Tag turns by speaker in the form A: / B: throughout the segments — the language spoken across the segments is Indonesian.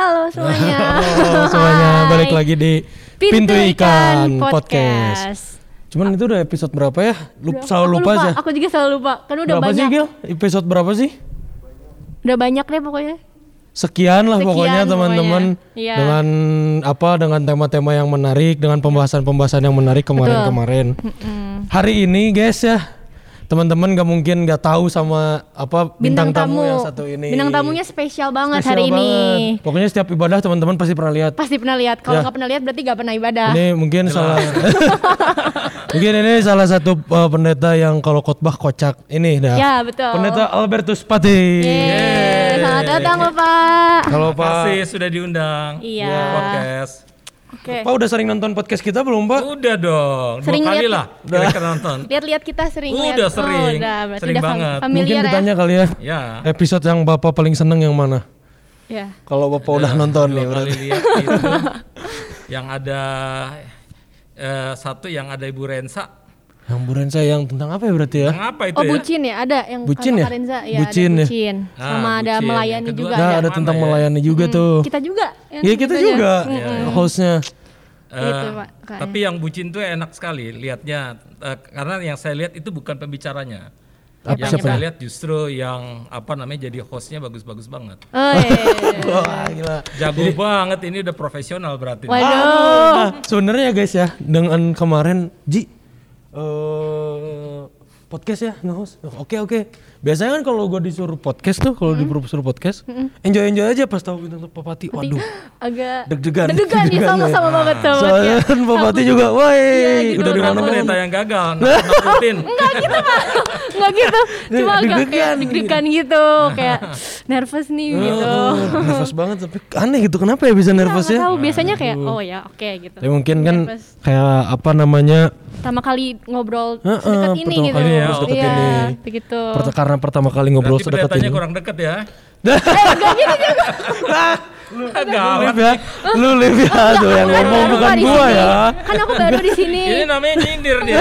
A: Halo semuanya.
B: Halo semuanya, balik
A: Hai.
B: lagi di Pintu, Ikan, Podcast. Cuman itu udah episode berapa ya? Lup,
A: Udah,
B: selalu
A: aku
B: lupa, aja.
A: Aku juga selalu lupa. Kan udah
B: berapa
A: banyak.
B: sih Gil? Episode berapa sih?
A: Udah banyak deh pokoknya.
B: Sekian lah
A: Sekian
B: pokoknya teman-teman
A: pokoknya. Iya.
B: dengan apa dengan tema-tema yang menarik, dengan pembahasan-pembahasan yang menarik kemarin-kemarin. Hari ini guys ya, teman-teman gak mungkin gak tahu sama apa bintang, tamu, yang satu ini.
A: Bintang tamunya spesial banget
B: Spesial
A: hari ini.
B: banget. Pokoknya setiap ibadah teman-teman pasti pernah lihat.
A: Pasti pernah lihat. Kalau
B: Ya.
A: nggak pernah lihat berarti nggak pernah ibadah.
B: Ini mungkin salah Mungkin ini salah satu uh, pendeta yang kalau khotbah kocak ini dah.
A: Ya, betul. Iya.
B: Pendeta Albertus Pati.
A: Yeay, Selamat datang Bapak.
B: Kalau Pak
C: Makasih sudah diundang.
A: Iya.
C: Ke Podcast.
A: Oke.
B: Pak udah sering nonton podcast kita belum, Pak?
C: Udah dong.
A: Sering ya?
C: Dua kali
A: liat-
C: lah kira-kira nonton.
A: Lihat-lihat kita sering
C: Udah,
A: lihat. Oh,
C: sering.
A: udah, berarti
C: Sering
A: udah fam-
C: banget.
B: Mungkin
A: Familiar ya.
B: ditanya kali ya.
C: Ya.
B: Episode yang Bapak paling seneng yang mana?
A: Ya.
B: Kalau Bapak udah nonton nih
C: Dua
B: berarti.
C: kali lihat itu. yang ada eh, satu yang ada Ibu Rensa.
B: Yang buran saya yang tentang apa ya berarti ya?
C: Kenapa itu
A: Oh
C: ya?
A: bucin ya ada yang
B: Bucin
A: kata
B: ya?
A: Karenza ya
B: Bucin
A: ada
B: ya?
A: bucin
C: Ah,
A: sama ada
C: bucin.
A: melayani
C: Yang kedua
A: juga
B: Nah,
C: ada
B: ada
C: mana
B: tentang
C: ya?
B: melayani juga tuh.
A: kita ya, gitu juga
B: Iya, kita juga.
A: Hmm,
B: Hostnya.
C: Eh,
A: Gitu, Pak, kayaknya.
C: tapi yang bucin tuh enak sekali lihatnya Eh, karena yang saya lihat itu bukan pembicaranya.
B: Apa,
C: yang
B: siapa
C: saya
B: ya?
C: lihat justru yang apa namanya jadi hostnya bagus-bagus banget.
A: Oh,
B: Wah, gila.
C: Jago banget ini udah profesional berarti.
A: Waduh.
B: Nah, sebenarnya guys ya, dengan kemarin Ji eh podcast ya nge-host. Oh, Oke oke. Biasanya kan kalau gue disuruh podcast tuh, kalau disuruh podcast, enjoy enjoy aja pas tahu bintang tamu Papati. Waduh,
A: Agak
B: Deg-degan.
A: Deg-degan ya
B: Deg-degan ya.
A: sama-sama banget sama
B: soalnya kan Papati juga, wah
A: gitu,
B: udah di
C: Kan
B: mana mana.
C: pendeta yang gagal nak- nakutin.
A: Enggak gitu Pak. Enggak gitu. Cuma agak kayak
B: Deg-degan. Oh,
A: deg-degan gitu kayak nervous nih gitu.
B: nervous banget tapi aneh gitu kenapa ya bisa nervous
A: Nggak
B: ya?
A: tahu biasanya kayak oh ya oke gitu.
B: Tapi mungkin kan
A: Nervous.
B: kayak apa namanya
A: Pertama kali ngobrol
B: Heeh,
A: sedekat ini
B: pertama
A: gitu.
B: kali
C: ya,
B: sedekat
A: Iya,
B: ini.
A: begitu.
B: pert- karena pertama kali ngobrol
C: Berarti
B: sedekat
C: pendetanya
B: ini.
C: kurang deket ya.
A: Eh, gitu,
B: Lu
C: Gawat.
B: live ya, lu live ya, aduh yang
A: Baru
B: ngomong
A: Pak
B: bukan
A: di
B: gua
A: sini.
B: ya.
A: Kan aku baru di sini.
C: Ini namanya nyindir dia.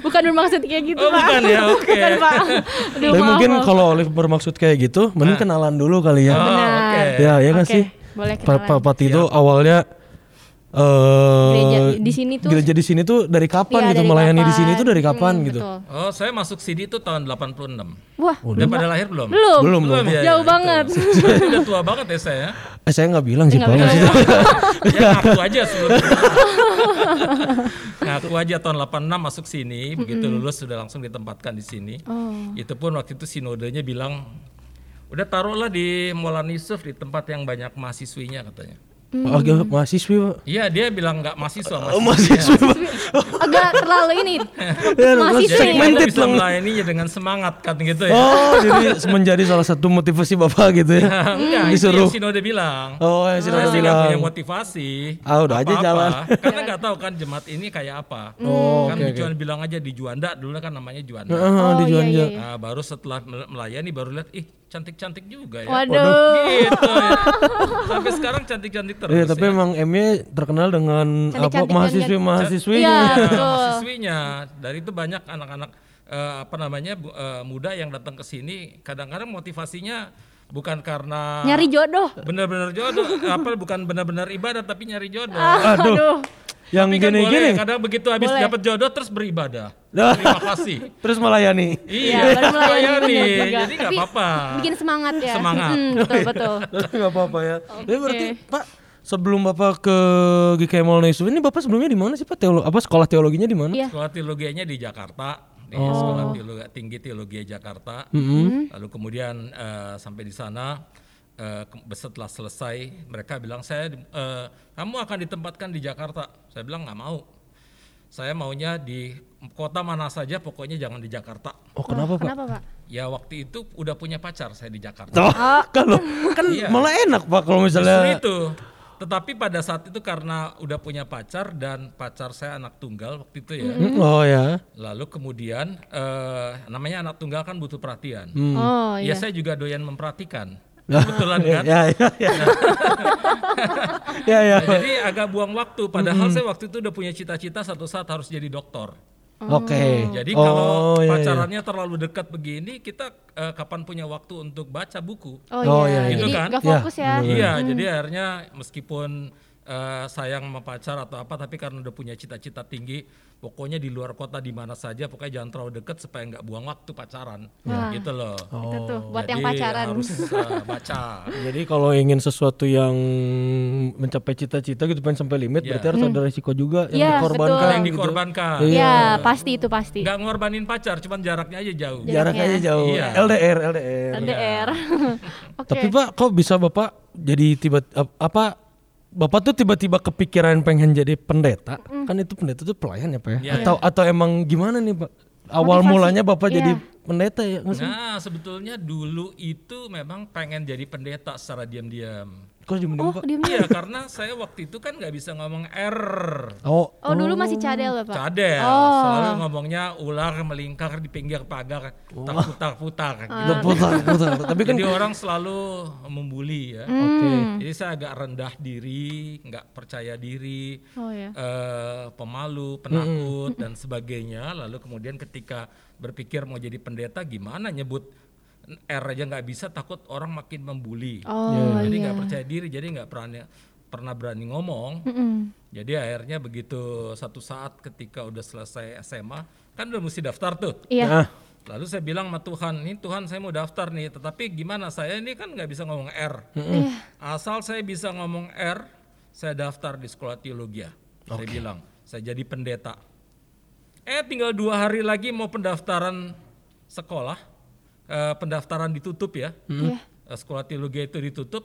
A: Bukan bermaksud kayak gitu
C: Oh,
A: Pak.
C: bukan ya, oke.
A: Bukan Pak. Aduh,
B: Tapi
A: maaf,
B: mungkin
A: maaf.
B: kalau Olive bermaksud kayak gitu, mending kenalan dulu kali ya.
C: Oh, oke.
B: Ya, ya kan
A: Oke,
B: sih.
A: boleh
B: Pa-
A: kenalan.
B: Pak Pati itu awalnya eh
A: Gereja di sini tuh-
B: gereja di sini tuh dari
A: Iya,
B: kapan gitu
A: dari
B: melayani di sini
A: kapan.
B: tuh dari kapan
A: Hmm,
B: gitu.
A: betul.
C: Oh, saya masuk CD itu tahun 86.
A: Wah,
C: Udah pada lahir belum?
A: belum.
B: Belum dong.
C: ya,
A: Jauh
C: ya,
A: banget.
C: itu. Berarti udah tua banget ya saya.
B: Eh saya nggak bilang sih
A: Nggak
B: Pak
A: bilang.
B: maksudnya.
C: Ya ngaku aja sebelumnya. ngaku aja tahun 86 masuk sini, begitu lulus sudah langsung ditempatkan di sini.
A: Oh.
C: Itu pun waktu itu sinodenya bilang udah taruhlah di Molan Yusuf di tempat yang banyak mahasiswinya katanya.
A: Hmm.
B: Agak mahasiswi Pak.
C: Iya, dia bilang nggak mahasiswa,
B: Oh,
C: mahasiswa.
B: mahasiswi Pak.
A: Agak terlalu ini.
B: Ya,
A: Mahasiswi.
B: Jadi
C: Jadi kita
B: segmented
C: bisa
B: dong.
C: melayaninya dengan semangat kan gitu ya.
B: Oh, jadi menjadi salah satu motivasi Bapak gitu ya.
A: Hmm.
C: Enggak,
B: Disuruh.
C: disuruh. Nah, Itu yang Sinode bilang.
B: Oh, yang Sinode
C: Saya sih
A: Iya,
C: nggak
B: bilang.
C: punya motivasi.
B: Ah, udah aja
C: apa-apa,
B: jalan.
C: Karena nggak tahu kan jemaat ini kayak apa.
B: Oh,
C: kan
B: oke,
C: cuma bilang aja di Juanda dulu kan namanya Juanda.
B: Heeh, di Juan
A: iya, iya.
C: Nah, baru setelah mel- melayani baru lihat ih cantik-cantik juga ya.
A: Waduh.
C: Gitu ya. Sampai sekarang cantik-cantik terus.
B: Iya, tapi
C: ya.
B: emang MY terkenal dengan apa
A: Cantik-cantik dan
B: mahasiswi-mahasiswi.
A: Iya,
C: Ya,
A: betul.
C: mahasiswinya. Dari itu banyak anak-anak eh, apa namanya bu- eh, muda yang datang ke sini kadang-kadang motivasinya bukan karena
A: Nyari jodoh.
C: benar-benar jodoh apa bukan benar-benar ibadah tapi nyari jodoh
B: Aduh. Yang
C: tapi kan boleh
B: gini-gini.
C: kadang begitu habis
A: Boleh.
C: dapat jodoh terus beribadah
B: Nah.
C: terima kasih
B: Terus melayani.
C: iya
A: baru melayani,
C: melayani.
A: bener juga.
C: jadi nggak
A: Tapi
C: apa-apa
A: Bikin semangat ya.
C: Ah. Semangat. Oh, iya.
A: Mm, betul, betul.
B: Tapi nggak apa-apa ya. Tapi berarti Pak sebelum Bapak ke GKM Maulana Yusuf ini Bapak sebelumnya di mana sih Pak? Teolo apa sekolah teologinya di mana?
A: Iya.
C: sekolah teologinya di Jakarta di sekolah teologi tinggi teologi Jakarta lalu kemudian eh, sampai di sana eh, ke- setelah selesai mereka bilang saya di- eh, kamu akan ditempatkan di Jakarta saya bilang nggak mau saya maunya di kota mana saja pokoknya jangan di Jakarta
B: Oh, kenapa Pak?
A: Kenapa Pak?
C: Ya waktu itu udah punya pacar saya di Jakarta.
B: Tuh,
A: Oh.
B: kalau kan
C: Iya.
B: malah enak Pak kalau
C: Justru
B: misalnya
C: itu. Tetapi pada saat itu karena udah punya pacar dan pacar saya anak tunggal waktu itu ya.
B: Hmm, Oh ya.
C: Lalu kemudian
B: Hmm.
C: eh, namanya anak tunggal kan butuh perhatian.
A: Oh,
C: Ya saya juga doyan memperhatikan. kebetulan kan.
B: Ya, ya, ya. ya, ya.
C: Nah, jadi agak buang waktu. Padahal saya waktu itu udah punya cita-cita satu saat harus jadi dokter.
B: Oke.
C: Jadi
B: Oh,
C: kalau
B: ya, ya.
C: pacarannya terlalu dekat begini, kita eh, kapan punya waktu untuk baca buku?
A: Oh,
B: Oh,
A: iya,
B: iya, iya.
A: jadi
C: Gitu kan?
A: nggak fokus
B: Iya,
A: ya.
B: bener-bener.
C: Iya, jadi akhirnya meskipun eh, sayang sama pacar atau apa, tapi karena udah punya cita-cita tinggi, pokoknya di luar kota di mana saja, pokoknya jangan terlalu dekat supaya nggak buang waktu pacaran,
B: Iya.
C: gitu loh.
A: Itu
B: Oh.
A: tuh buat yang
C: Jadi
A: pacaran.
C: harus eh, baca.
B: Jadi kalau ingin sesuatu yang mencapai cita-cita gitu pengen sampai limit
C: Iya.
B: berarti harus ada risiko juga yang
A: Iya,
B: dikorbankan.
A: betul.
C: Yang
B: gitu.
C: dikorbankan,
B: Iya.
A: Iya, pasti itu pasti.
C: nggak ngorbanin pacar, cuman jaraknya aja jauh.
B: Gitu. Jarak aja
A: ya.
B: jauh.
C: Iya.
B: LDR, LDR.
A: LDR. Oke.
B: Tapi Pak, kok bisa Bapak jadi tiba ap- apa Bapak tuh tiba-tiba kepikiran pengen jadi pendeta? Kan itu pendeta tuh pelayan ya, Pak ya?
C: Iya.
B: Atau atau emang gimana nih, Pak? Awal
A: Motivasi.
B: mulanya Bapak
A: Iya.
B: jadi pendeta ya? Nggak sih?
C: Nah, sebetulnya dulu itu memang pengen jadi pendeta secara diam-diam.
B: Kok jadi mending,
A: Oh,
B: Pak?
A: diam
C: Iya, karena saya waktu itu kan nggak bisa ngomong R.
B: Oh,
A: Oh, dulu masih cadel ya, Pak?
C: Cadel,
A: Oh.
C: selalu ngomongnya ular melingkar di pinggir pagar, tak
A: Ah.
C: putar-putar. gitu.
B: udah putar, putar. Tapi kan
C: Jadi orang selalu
A: Hmm.
C: membuli ya.
B: Oke.
C: Jadi saya agak rendah diri, nggak percaya diri,
A: Oh ya.
C: eh, pemalu,
B: Hmm.
C: penakut dan sebagainya. Lalu kemudian ketika berpikir mau jadi pendeta, gimana nyebut R aja nggak bisa, takut orang makin membuli.
A: Oh
C: jadi
A: iya.
C: nggak percaya diri, jadi nggak berani pernah berani ngomong.
A: Mm-mm.
C: Jadi akhirnya begitu satu saat ketika udah selesai SMA, kan udah mesti daftar tuh.
A: Iya.
B: Ah,
C: Lalu saya bilang sama Tuhan, ini Tuhan saya mau daftar nih, tetapi gimana saya ini kan nggak bisa ngomong R. Asal saya bisa ngomong R, saya daftar di sekolah teologi. ya, Saya bilang, saya jadi pendeta. Eh tinggal dua hari lagi mau pendaftaran sekolah, Eh, pendaftaran ditutup ya.
A: Iya.
C: Eh, Sekolah teologi itu ditutup.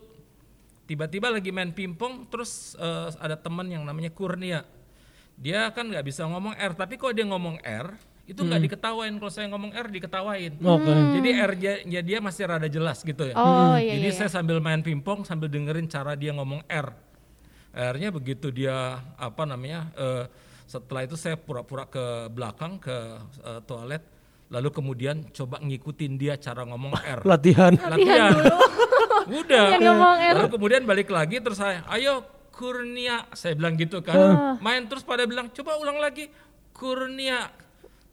C: Tiba-tiba lagi main pingpong, terus eh, ada teman yang namanya Kurnia. Dia kan nggak bisa ngomong R, tapi kalau dia ngomong R, itu nggak diketawain. Kalau saya ngomong R diketawain.
B: oke.
C: Jadi R-nya dia masih rada jelas gitu ya.
A: Hmm. Oh iya.
C: Jadi
A: iya.
C: saya sambil main pingpong sambil dengerin cara dia ngomong R. R-nya begitu dia apa namanya? eh, setelah itu saya pura-pura ke belakang ke eh, toilet, lalu kemudian coba ngikutin dia cara ngomong R.
B: Latihan.
C: Latihan. Udah.
A: Yang ngomong R.
C: Lalu kemudian balik lagi terus saya, ayo Kurnia, saya bilang gitu kan. Main terus pada bilang, coba ulang lagi Kurnia.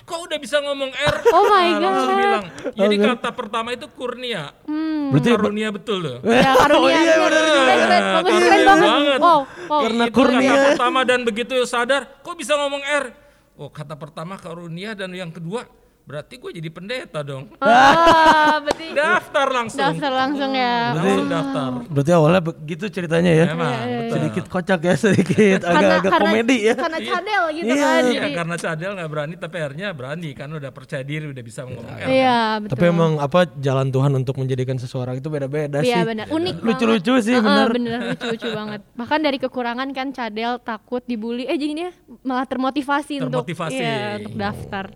C: Kok udah bisa ngomong R?
A: Oh my
C: Nah, langsung
A: God.
C: bilang. Jadi kata pertama itu Kurnia.
A: Hmm.
B: Oh, iya. Berarti
C: Karunia betul loh.
A: Ya,
C: Oh,
A: karunia.
B: iya,
A: bener. Keren,
B: bener,
C: bener.
A: keren, bagus,
C: Karunia
A: keren banget.
C: banget.
A: Wow, wow.
B: Karena
C: Itu
B: kurnia.
C: Kata pertama dan begitu sadar, kok bisa ngomong R? Oh kata pertama karunia dan yang kedua berarti gue jadi pendeta dong.
A: Ah, berarti
C: Daftar langsung.
A: daftar langsung ya.
C: Langsung daftar.
B: Berarti awalnya begitu ceritanya ya.
C: Emang
A: Iya,
C: betul.
B: Sedikit kocak ya, sedikit agak-agak komedi ya.
A: Karena cadel gitu
B: Iya.
A: kan.
C: Iya
A: jadi-
C: karena cadel nggak berani tapi akhirnya berani karena udah percaya diri udah bisa ngomong R.
A: Iya, betul.
B: Tapi emang apa jalan Tuhan untuk menjadikan seseorang itu beda-beda
A: Iya
B: sih.
A: benar, unik banget.
B: Lucu-lucu sih,
A: Heeh,
B: benar.
A: benar, lucu-lucu banget. Bahkan dari kekurangan kan cadel takut dibully, eh jadinya malah termotivasi,
C: Termotivasi.
A: untuk iya, untuk daftar.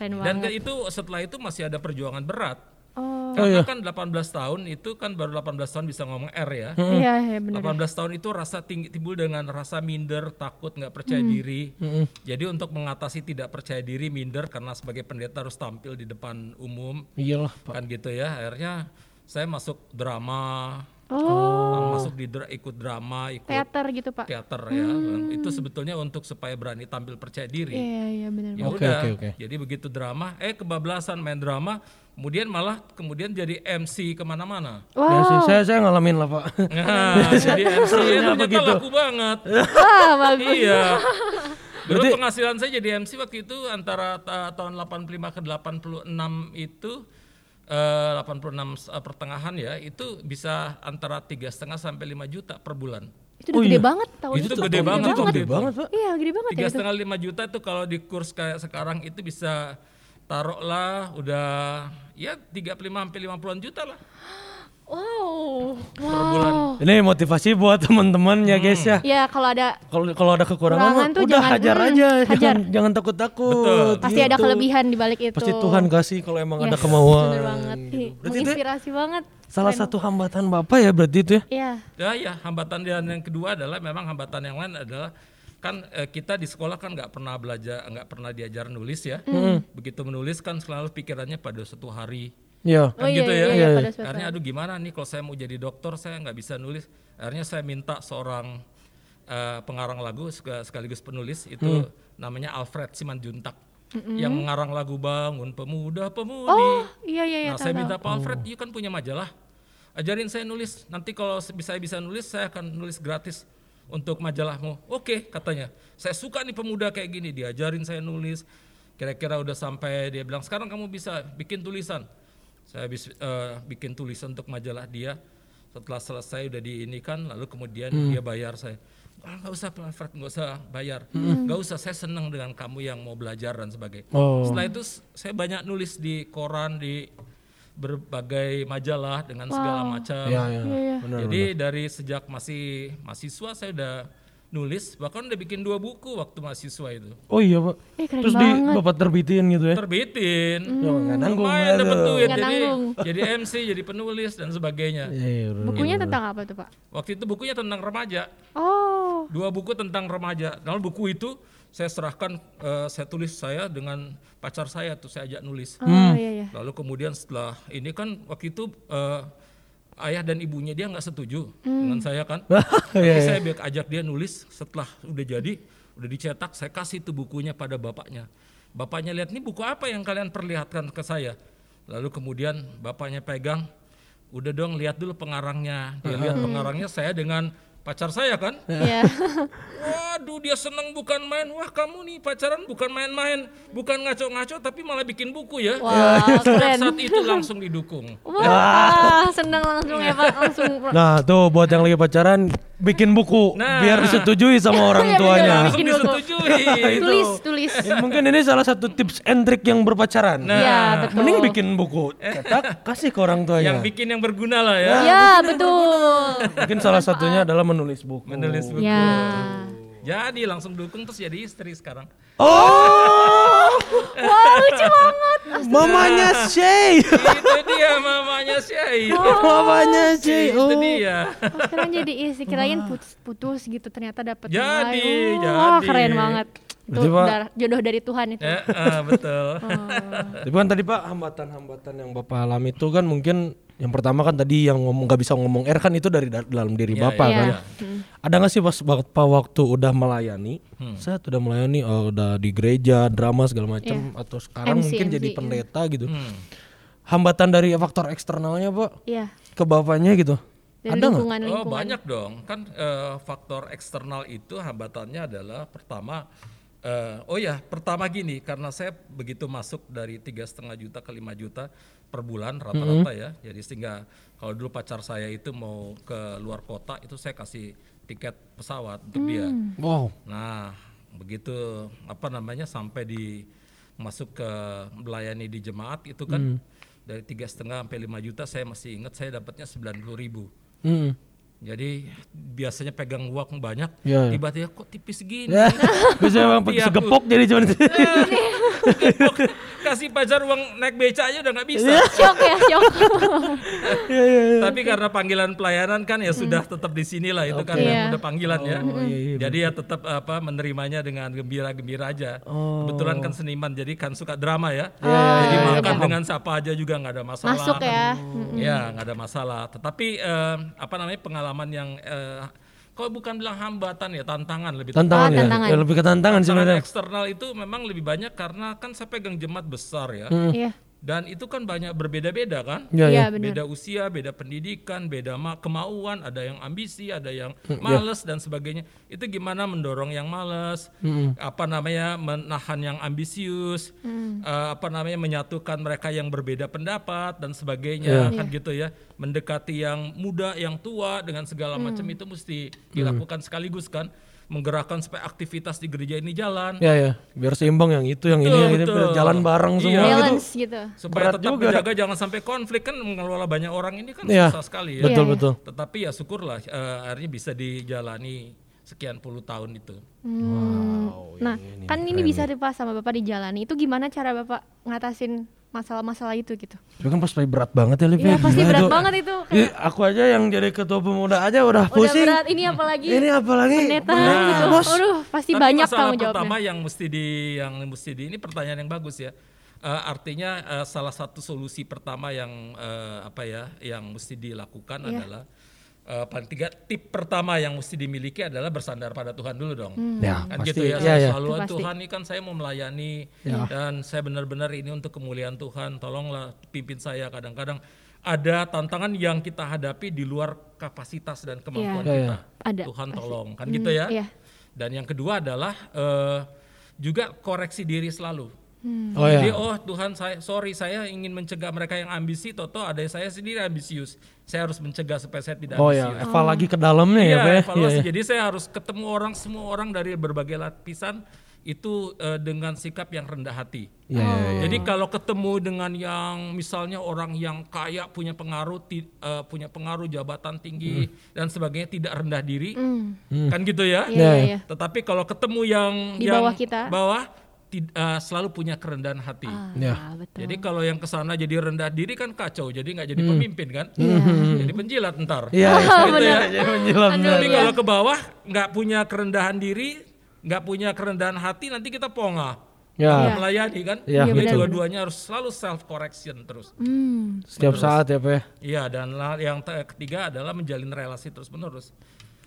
A: Keren
C: Dan
A: banget.
C: ke- itu setelah itu masih ada perjuangan berat.
A: Oh,
C: Karena kan 18 tahun itu kan baru 18 tahun bisa ngomong R ya.
A: iya, iya benar.
C: 18 tahun itu rasa tinggi timbul dengan rasa minder, takut, nggak percaya
A: Hmm.
C: diri. Jadi untuk mengatasi tidak percaya diri, minder karena sebagai pendeta harus tampil di depan umum,
B: Iyalah.
C: kan gitu ya. Akhirnya saya masuk drama,
A: Oh,
C: masuk di dra- ikut drama, ikut
A: teater gitu, Pak.
C: teater ya. Itu sebetulnya untuk supaya berani tampil percaya diri.
A: Iya, iya benar.
C: Ya
B: Oke,
C: udah.
B: oke, oke.
C: Jadi begitu drama, eh kebablasan main drama, kemudian malah kemudian jadi MC kemana-mana.
B: Ya sih, saya saya ngalamin lah, Pak.
C: Nah, jadi MC ya ternyata
B: begitu.
C: laku banget.
A: Iya. Wah, bagus.
C: iya. Dulu penghasilan saya jadi MC waktu itu antara ta- tahun 85 ke 86 itu eh, 86 s- eh, pertengahan ya itu bisa antara tiga setengah sampai 5 juta per bulan
A: Itu udah gede banget tahun
C: Oh, iya. itu gede banget
B: Itu
C: waktu
B: gede
C: itu.
B: banget, Pak.
A: Iya, gede banget ya
C: tiga
A: itu.
C: setengah lima juta itu kalau di kurs kayak sekarang itu bisa taruhlah udah ya 35 sampai 50 juta lah
A: Wow.
C: per bulan
B: Ini motivasi buat teman-teman ya, guys ya.
A: Ya, kalau ada
B: Kalau kalau ada kekurangan mah
A: Kekurangan tuh
B: udah
A: jangan-
B: hajar
A: hmm,
B: aja,
A: hajar.
B: jangan jangan takut-takut.
A: pasti ada
B: gitu.
A: kelebihan di balik itu.
B: Pasti Tuhan kasih kalau emang ada
A: Yes,
B: kemauan.
A: Bener banget. Iya, Ih,
B: Berarti itu
A: Menginspirasi banget.
B: salah satu hambatan Bapak ya berarti itu ya.
A: Iya.
C: Ya, ya hambatan dan yang kedua adalah memang hambatan yang lain adalah kan eh, kita di sekolah kan nggak pernah belajar nggak pernah diajar nulis ya. Begitu menulis kan selalu pikirannya pada satu hari
B: Iya.
A: Oh
C: Kan
A: iya,
C: gitu
A: iya,
C: ya.
A: iya,
B: Iya,
A: pada suatu
C: Akhirnya
A: saat.
C: aduh gimana nih kalau saya mau jadi dokter saya nggak bisa nulis. Akhirnya saya minta seorang eh, pengarang lagu sek- sekaligus penulis itu namanya Alfred Simanjuntak yang mengarang lagu Bangun Pemuda Pemudi.
A: Oh, iya iya iya.
C: nah saya
A: tahu,
C: minta
A: tahu.
C: Pak Alfred, you kan punya majalah, ajarin saya nulis. Nanti kalau se- bisa bisa nulis saya akan nulis gratis untuk majalahmu. Oke katanya. Saya suka nih pemuda kayak gini diajarin saya nulis. Kira-kira udah sampai dia bilang sekarang kamu bisa bikin tulisan. Saya habis eh, bikin tulisan untuk majalah dia. Setelah selesai udah diinikan, lalu kemudian
A: Hmm.
C: dia bayar saya. "Ah, Nggak usah Pak Alfred, nggak usah bayar.
A: Hmm.
C: Nggak usah, saya senang dengan kamu yang mau belajar dan sebagainya.
B: Oh.
C: Setelah itu s- saya banyak nulis di koran, di berbagai majalah dengan segala macam.
B: Iya, iya.
A: Iya, iya.
B: Benar.
C: Jadi dari sejak masih mahasiswa saya udah nulis, bahkan udah bikin dua buku waktu mahasiswa itu.
B: Oh iya, Pak.
A: Eh, keren
B: Terus di
A: banget.
B: Bapak terbitin gitu ya.
C: Terbitin.
B: Ya, nggak nanggung.
C: Hmm, Lumayan dapet
B: aduh.
A: Hmm.
C: duit,
A: Nggak
C: jadi
A: nanggung.
C: jadi MC, jadi penulis dan sebagainya.
B: Iya, iya, benar.
A: Bukunya tentang apa tuh, Pak?
C: Waktu itu bukunya tentang remaja.
A: Oh.
C: dua buku tentang remaja. Lalu buku itu saya serahkan, eh, saya tulis saya dengan pacar saya tuh saya ajak nulis.
B: Hmm.
A: Oh iya iya.
C: Lalu kemudian setelah ini kan waktu itu eh, ayah dan ibunya dia nggak setuju dengan saya kan. Tapi
B: Iya,
C: saya biar ajak dia nulis setelah udah jadi, udah dicetak, saya kasih tuh bukunya pada bapaknya. Bapaknya lihat nih buku apa yang kalian perlihatkan ke saya. Lalu kemudian bapaknya pegang, udah dong lihat dulu pengarangnya. Dia lihat pengarangnya saya dengan pacar saya kan.
A: Iya.
C: Waduh dia seneng bukan main Wah kamu nih pacaran bukan main-main Bukan ngaco-ngaco tapi malah bikin buku ya
A: Wah,
C: Sejak
A: keren.
C: saat itu langsung didukung
A: Wah,
B: Ah.
A: senang langsung ya Pak, langsung.
B: Nah, tuh buat yang lagi pacaran bikin buku
C: Nah.
B: biar disetujui sama
A: Iya,
B: orang
A: bener.
B: tuanya. Iya,
C: Langsung
A: Bikin buku.
C: disetujui
A: tulis, tulis.
B: Ya, mungkin ini salah satu tips and trick yang berpacaran.
C: Nah.
A: Iya, betul.
B: Mending bikin buku cetak kasih ke orang
C: Yang
B: tuanya.
C: bikin yang berguna lah ya
A: Iya, betul.
B: Mungkin salah satunya adalah menulis buku.
C: Menulis buku
A: Ya.
C: Jadi langsung dukung terus jadi istri sekarang
B: Oh,
A: Wah, lucu banget.
B: mamanya Shay.
C: Itu dia mamanya Syai
A: Oh,
B: mamanya Shay.
C: Oh, Itu
B: Oh.
C: dia
A: Sekarang jadi istri kirain putus, putus gitu ternyata dapet
C: Jadi,
A: nilai. Wah,
C: jadi.
A: keren banget. Itu
B: Berarti, Pak-
A: dar- jodoh dari Tuhan itu.
C: ya, eh, Betul
A: Oh.
B: Tapi kan tadi Pak hambatan-hambatan yang Bapak alami itu kan mungkin yang pertama kan tadi yang ngomong nggak bisa ngomong R kan itu dari da- dalam diri Bapak
A: iya.
B: kan.
A: Iya.
B: Ada nggak sih pas Bapak waktu udah melayani,
A: Hmm.
B: saya udah melayani oh, udah di gereja, drama segala macam
A: Iya.
B: atau
A: MC,
B: sekarang mungkin jadi
A: MC,
B: pendeta gitu.
C: Hmm.
B: Hambatan dari faktor eksternalnya Pak
A: Iya.
B: ke bapaknya gitu.
A: Dari
B: ada nggak?
A: lingkungan
C: Oh
A: lingkungan.
C: banyak dong kan eh, faktor eksternal itu hambatannya adalah pertama eh, oh ya pertama gini karena saya begitu masuk dari tiga setengah juta ke 5 juta per bulan rata-rata ya jadi sehingga kalau dulu pacar saya itu mau ke luar kota itu saya kasih tiket pesawat untuk dia
B: Wow.
C: nah begitu apa namanya sampai di masuk ke melayani di jemaat itu kan dari tiga setengah sampai 5 juta saya masih ingat saya dapatnya 90.000 ribu
B: Hmm.
C: jadi biasanya pegang uang banyak,
B: Iya, iya.
C: tiba-tiba kok tipis gini.
B: Ya, bisa emang
A: Iya,
C: Tapi aku-
B: segepok jadi cuman
C: Kasih pacar uang naik beca aja udah nggak bisa.
A: Syok ya, syok.
B: Iya, iya, iya.
C: Tapi karena panggilan pelayanan kan ya sudah
A: Hmm.
C: tetap di sinilah itu kan
A: Iya.
C: udah panggilan ya.
B: Oh, iya, iya,
C: Jadi ya tetap apa menerimanya dengan gembira-gembira aja. Kebetulan kan seniman jadi kan suka drama ya. jadi
B: iya, iya,
C: makan
B: paham.
C: dengan siapa aja juga nggak ada masalah.
A: Masuk
C: kan.
A: ya.
C: Ya nggak ada masalah. Tetapi eh, apa namanya pengalaman yang eh, kok bukan bilang hambatan ya tantangan lebih
B: Tantangan,
A: Ah,
B: ya?
A: tantangan.
B: ya. Lebih ke tantangan
C: Tantangan
B: sebenarnya.
C: eksternal itu memang lebih banyak karena kan saya pegang jemaat besar ya.
B: Hmm.
A: Iya.
C: Dan itu kan banyak berbeda-beda kan?
A: Iya,
B: Iya, iya.
A: benar.
C: Beda usia, beda pendidikan, beda ma- kemauan, ada yang ambisi, ada yang males dan sebagainya. Itu gimana mendorong yang males, apa namanya menahan yang ambisius, eh, apa namanya menyatukan mereka yang berbeda pendapat dan sebagainya kan gitu ya. Mendekati yang muda, yang tua dengan segala macam itu mesti dilakukan sekaligus kan, menggerakkan supaya aktivitas di gereja ini jalan.
B: Ya ya, biar seimbang yang itu, yang
C: Betul,
B: ini, ini biar
C: betul.
B: jalan bareng
C: Iya.
B: semua gitu.
A: Balance gitu.
C: supaya
B: Berat
C: tetap
B: juga.
C: menjaga jangan sampai konflik kan mengelola banyak orang ini kan
B: Iya.
C: susah sekali ya.
A: Iya,
B: Betul
A: iya.
B: betul.
C: Tetapi ya syukurlah eh, akhirnya bisa dijalani sekian puluh tahun itu.
B: iya,
A: Nah, kan ini bisa deh Pak sama Bapak dijalani. Itu gimana cara Bapak ngatasin masalah-masalah itu gitu?
B: Tapi kan pasti berat banget ya Liv.
A: Iya, pasti
B: Gila
A: berat
B: itu.
A: banget itu.
B: Ih, aku aja yang jadi ketua pemuda aja udah, pusing.
A: Udah berat, ini apalagi
B: Ini apalagi
A: pendeta
B: berat,
A: gitu.
B: Bos.
A: Aduh, pasti
C: Tapi
A: banyak
C: masalah
A: tanggung jawabnya.
C: pertama yang mesti di yang mesti di ini pertanyaan yang bagus ya. Eh, artinya eh, salah satu solusi pertama yang eh, apa ya yang mesti dilakukan
A: Iya.
C: adalah eh, paling tiga tip pertama yang mesti dimiliki adalah bersandar pada Tuhan dulu dong.
A: Hmm.
B: Ya,
C: Kan
B: pasti. Iya.
C: gitu ya,
B: Ya, ya.
C: selalu
A: Itu pasti.
C: Tuhan ini kan saya mau melayani dan saya benar-benar ini untuk kemuliaan Tuhan. Tolonglah pimpin saya kadang-kadang ada tantangan yang kita hadapi di luar kapasitas dan
B: Ya. Ya,
C: kemampuan kita.
B: ya.
A: Iya, Ada,
C: Tuhan
A: pasti.
C: tolong kan gitu ya.
A: iya.
C: Dan yang kedua adalah eh, juga koreksi diri selalu.
B: Oh ya.
C: Jadi oh Tuhan saya sorry saya ingin mencegah mereka yang ambisi toto ada saya sendiri ambisius. Saya harus mencegah supaya saya tidak
B: Oh ya,
C: ambisius.
B: Eva lagi ke dalamnya ya,
C: Iya,
B: Pak ya.
C: evaluasi.
B: Iya, iya.
C: Jadi saya harus ketemu orang semua orang dari berbagai lapisan itu eh, dengan sikap yang rendah hati.
A: Oh.
B: Iya, iya, iya.
C: Jadi kalau ketemu dengan yang misalnya orang yang kaya punya pengaruh ti- eh, punya pengaruh jabatan tinggi
B: Hmm.
C: dan sebagainya tidak rendah diri kan gitu ya.
A: Hmm. Iya, iya, iya.
C: Tetapi kalau ketemu yang
A: Di
C: yang
A: bawah kita.
C: bawah tid- eh, selalu punya kerendahan hati.
B: Ya.
A: Ah, betul.
C: Jadi kalau yang kesana jadi rendah diri kan kacau, jadi nggak jadi pemimpin kan,
A: Iya.
C: jadi penjilat
B: Hmm.
C: ntar.
B: Iya.
C: Gitu ya.
B: Jadi menjelang
A: Oh, Aduh,
B: dari-
C: Tapi kalau ke bawah nggak punya kerendahan diri, nggak punya kerendahan hati, nanti kita pongah.
B: Ya,
C: Nggak melayani kan.
B: Iya,
C: Jadi
A: betul.
C: dua-duanya harus selalu self correction terus.
A: Hmm,
B: setiap saat ya, Pak. ya.
C: Iya dan la- yang te- ketiga adalah menjalin relasi terus menerus.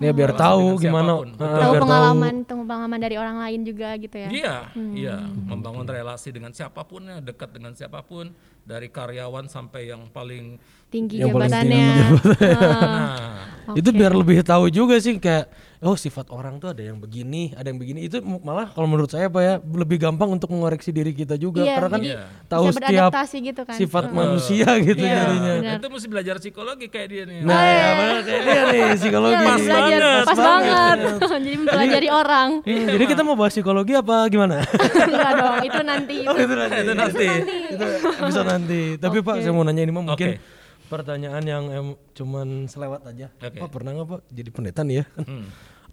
B: Ya biar
C: Relasi
B: tahu
C: dengan
B: gimana.
C: siapapun.
B: eh,
C: Betul.
A: tahu
B: biar
A: pengalaman, tahu pengalaman dari orang lain juga gitu ya.
C: Iya, iya, membangun relasi dengan siapapun ya, dekat dengan siapapun, dari karyawan sampai yang paling
A: Tinggi
B: Yang paling
A: jabatannya. Ah.
C: nah,
B: Itu biar lebih tahu juga sih kayak oh sifat orang tuh ada yang begini, ada yang begini. Itu mu- malah kalau menurut saya Pak ya lebih gampang untuk mengoreksi diri kita juga
A: Iya,
B: karena kan
A: jadi
B: tahu
A: bisa
B: setiap
A: beradaptasi gitu kan.
B: sifat manusia gitu
C: iya,
B: jadinya.
C: itu mesti belajar psikologi kayak dia nih.
B: Nah, ya, benar kayak dia nih
A: Iya,
B: psikologi.
A: pas belajar,
B: banget,
A: pas banget. Jadi mempelajari orang.
B: Hmm, jadi kita mau bahas psikologi apa gimana?
A: Enggak dong, itu nanti itu.
B: itu nanti.
C: itu nanti.
B: Itu bisa nanti. Tapi Pak, saya mau nanya ini mah mungkin
C: Oke.
B: pertanyaan yang em, cuman selewat aja.
C: Oke. Hmm.
B: Pak pernah nggak Pak jadi pendeta nih ya kan?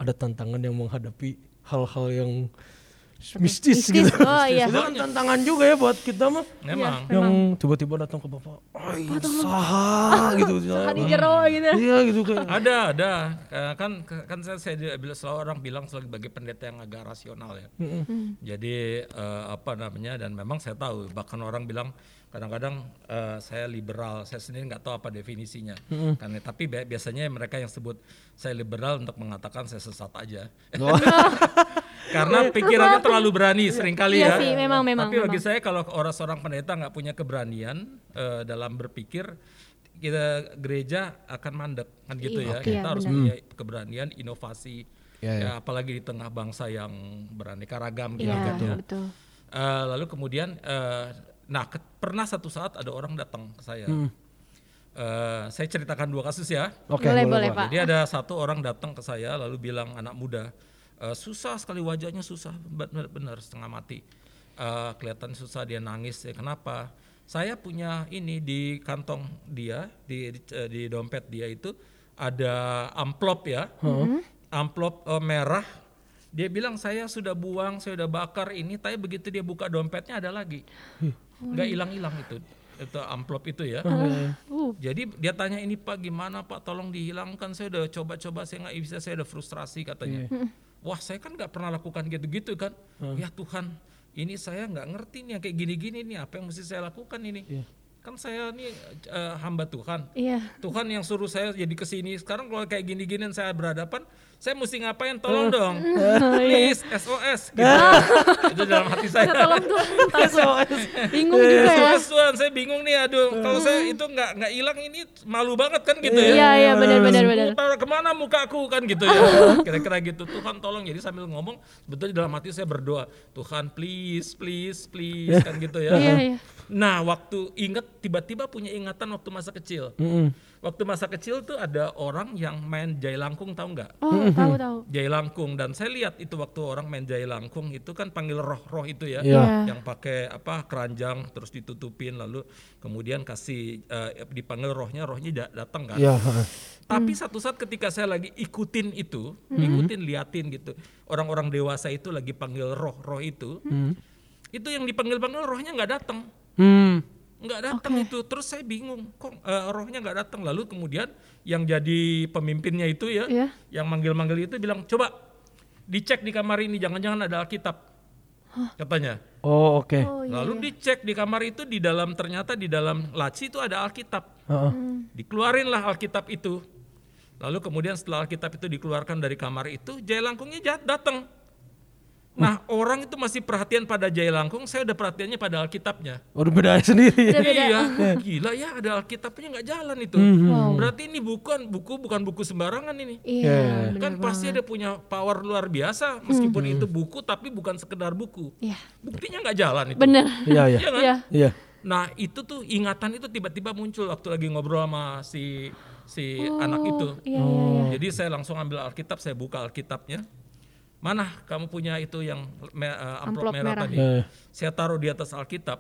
B: Ada tantangan yang menghadapi hal-hal yang
A: Mistis,
B: mistis, gitu.
A: oh iya.
B: Itu kan tantangan juga ya buat kita mah.
C: Memang.
B: Yang tiba-tiba datang ke Bapak, "Ay, saha gitu.
A: Salah di jero gitu.
B: Iya gitu kayak.
C: Ada, ada. Eh, Kan kan saya, saya di- bila selalu orang bilang sebagai pendeta yang agak rasional ya. Jadi eh, apa namanya dan memang saya tahu bahkan orang bilang kadang-kadang eh, saya liberal, saya sendiri nggak tahu apa definisinya. Karena tapi bi- biasanya mereka yang sebut saya liberal untuk mengatakan saya sesat aja. Karena pikirannya terlalu berani seringkali
A: Iya
C: ya.
A: sih, memang, memang,
C: Tapi bagi saya kalau orang seorang pendeta nggak punya keberanian eh, dalam berpikir, kita gereja akan mandek kan gitu
A: Iya,
C: ya. Kita harus
A: benar.
C: punya keberanian, inovasi,
B: Hmm. Iya,
C: ya, apalagi di tengah bangsa yang beraneka ragam gitu
A: Iya,
C: kan ya.
A: betul.
C: Eh, lalu kemudian, eh, nah ke- pernah satu saat ada orang datang ke saya.
B: Hmm.
C: Eh, saya ceritakan dua kasus ya.
B: Oke,
A: boleh, boleh,
B: boleh,
A: Pak.
C: Jadi ada satu orang datang ke saya lalu bilang anak muda "Eh, susah sekali wajahnya susah benar-benar setengah mati. Eh, kelihatan susah dia nangis ya kenapa? Saya punya ini di kantong dia di di, eh, di dompet dia itu ada amplop ya. Amplop eh, merah. Dia bilang saya sudah buang, saya sudah bakar ini tapi begitu dia buka dompetnya ada lagi. Nggak hilang-hilang itu itu amplop itu ya.
A: Uh,
C: Jadi dia tanya ini Pak gimana Pak tolong dihilangkan saya udah coba-coba saya nggak bisa saya udah frustrasi katanya. Wah saya kan nggak pernah lakukan gitu-gitu kan. Ya Tuhan ini saya nggak ngerti nih yang kayak gini-gini nih apa yang mesti saya lakukan ini. Kan saya nih eh, hamba Tuhan.
A: iya.
C: Tuhan yang suruh saya jadi kesini sekarang kalau kayak gini-gini saya berhadapan saya mesti ngapain tolong dong
A: Oh,
C: please SOS gitu. itu dalam hati saya
A: iya. Tolong ya. tuh,
B: SOS.
A: bingung juga ya.
C: Terus Tuhan, saya bingung nih aduh kalau saya itu nggak nggak hilang ini malu banget kan gitu ya
A: Iya, iya, benar, benar, benar.
C: Mau taruh kemana mukaku kan gitu ya kira-kira gitu Tuhan tolong jadi sambil ngomong sebetulnya dalam hati saya berdoa Tuhan please please please kan gitu ya
A: Iya, iya.
C: nah waktu inget tiba-tiba punya ingatan waktu masa kecil waktu masa kecil tuh ada orang yang main jailangkung tahu nggak
A: Oh, tahu tahu.
C: jailangkung dan saya lihat itu waktu orang main jailangkung itu kan panggil roh-roh itu ya
B: Iya.
A: Iya.
C: yang pakai apa keranjang terus ditutupin lalu kemudian kasih eh, dipanggil rohnya rohnya da- datang kan
B: Iya.
C: tapi
A: Hmm.
C: satu saat ketika saya lagi ikutin itu, ikutin liatin gitu, orang-orang dewasa itu lagi panggil roh-roh itu,
A: Hmm.
C: itu yang dipanggil-panggil rohnya nggak datang,
B: Hmm.
C: nggak datang itu. Terus saya bingung, kok eh, rohnya nggak datang. Lalu kemudian yang jadi pemimpinnya itu ya,
A: Iya.
C: yang manggil-manggil itu bilang coba dicek di kamar ini, jangan-jangan ada Alkitab, katanya.
B: Oh oke.
A: Oh iya.
C: Lalu dicek di kamar itu di dalam ternyata di dalam laci itu ada Alkitab.
B: Heeh.
C: Dikeluarinlah Alkitab itu. Lalu kemudian setelah Alkitab itu dikeluarkan dari kamar itu, Jai Langkungnya jat- datang. Nah, orang itu masih perhatian pada Jai Langkung, saya udah perhatiannya pada Alkitabnya.
B: Udah beda sendiri.
A: Udah beda.
C: Iya, gila ya ada Alkitabnya nggak jalan itu. Berarti ini bukan buku bukan buku sembarangan ini.
A: Iya. bener
C: Kan pasti ada punya power luar biasa meskipun itu buku tapi bukan sekedar buku.
A: Iya.
C: Buktinya nggak jalan itu.
A: Bener.
B: Iya iya.
C: Iya kan?
A: Iya.
B: Iya.
C: Nah, itu tuh ingatan itu tiba-tiba muncul waktu lagi ngobrol sama si si anak itu.
A: Iya iya iya.
C: Jadi saya langsung ambil Alkitab, saya buka Alkitabnya. Mana kamu punya itu yang me- eh, amplop,
A: Amplop
C: merah,
A: merah.
C: tadi?
B: Iya, iya.
C: Saya taruh di atas Alkitab.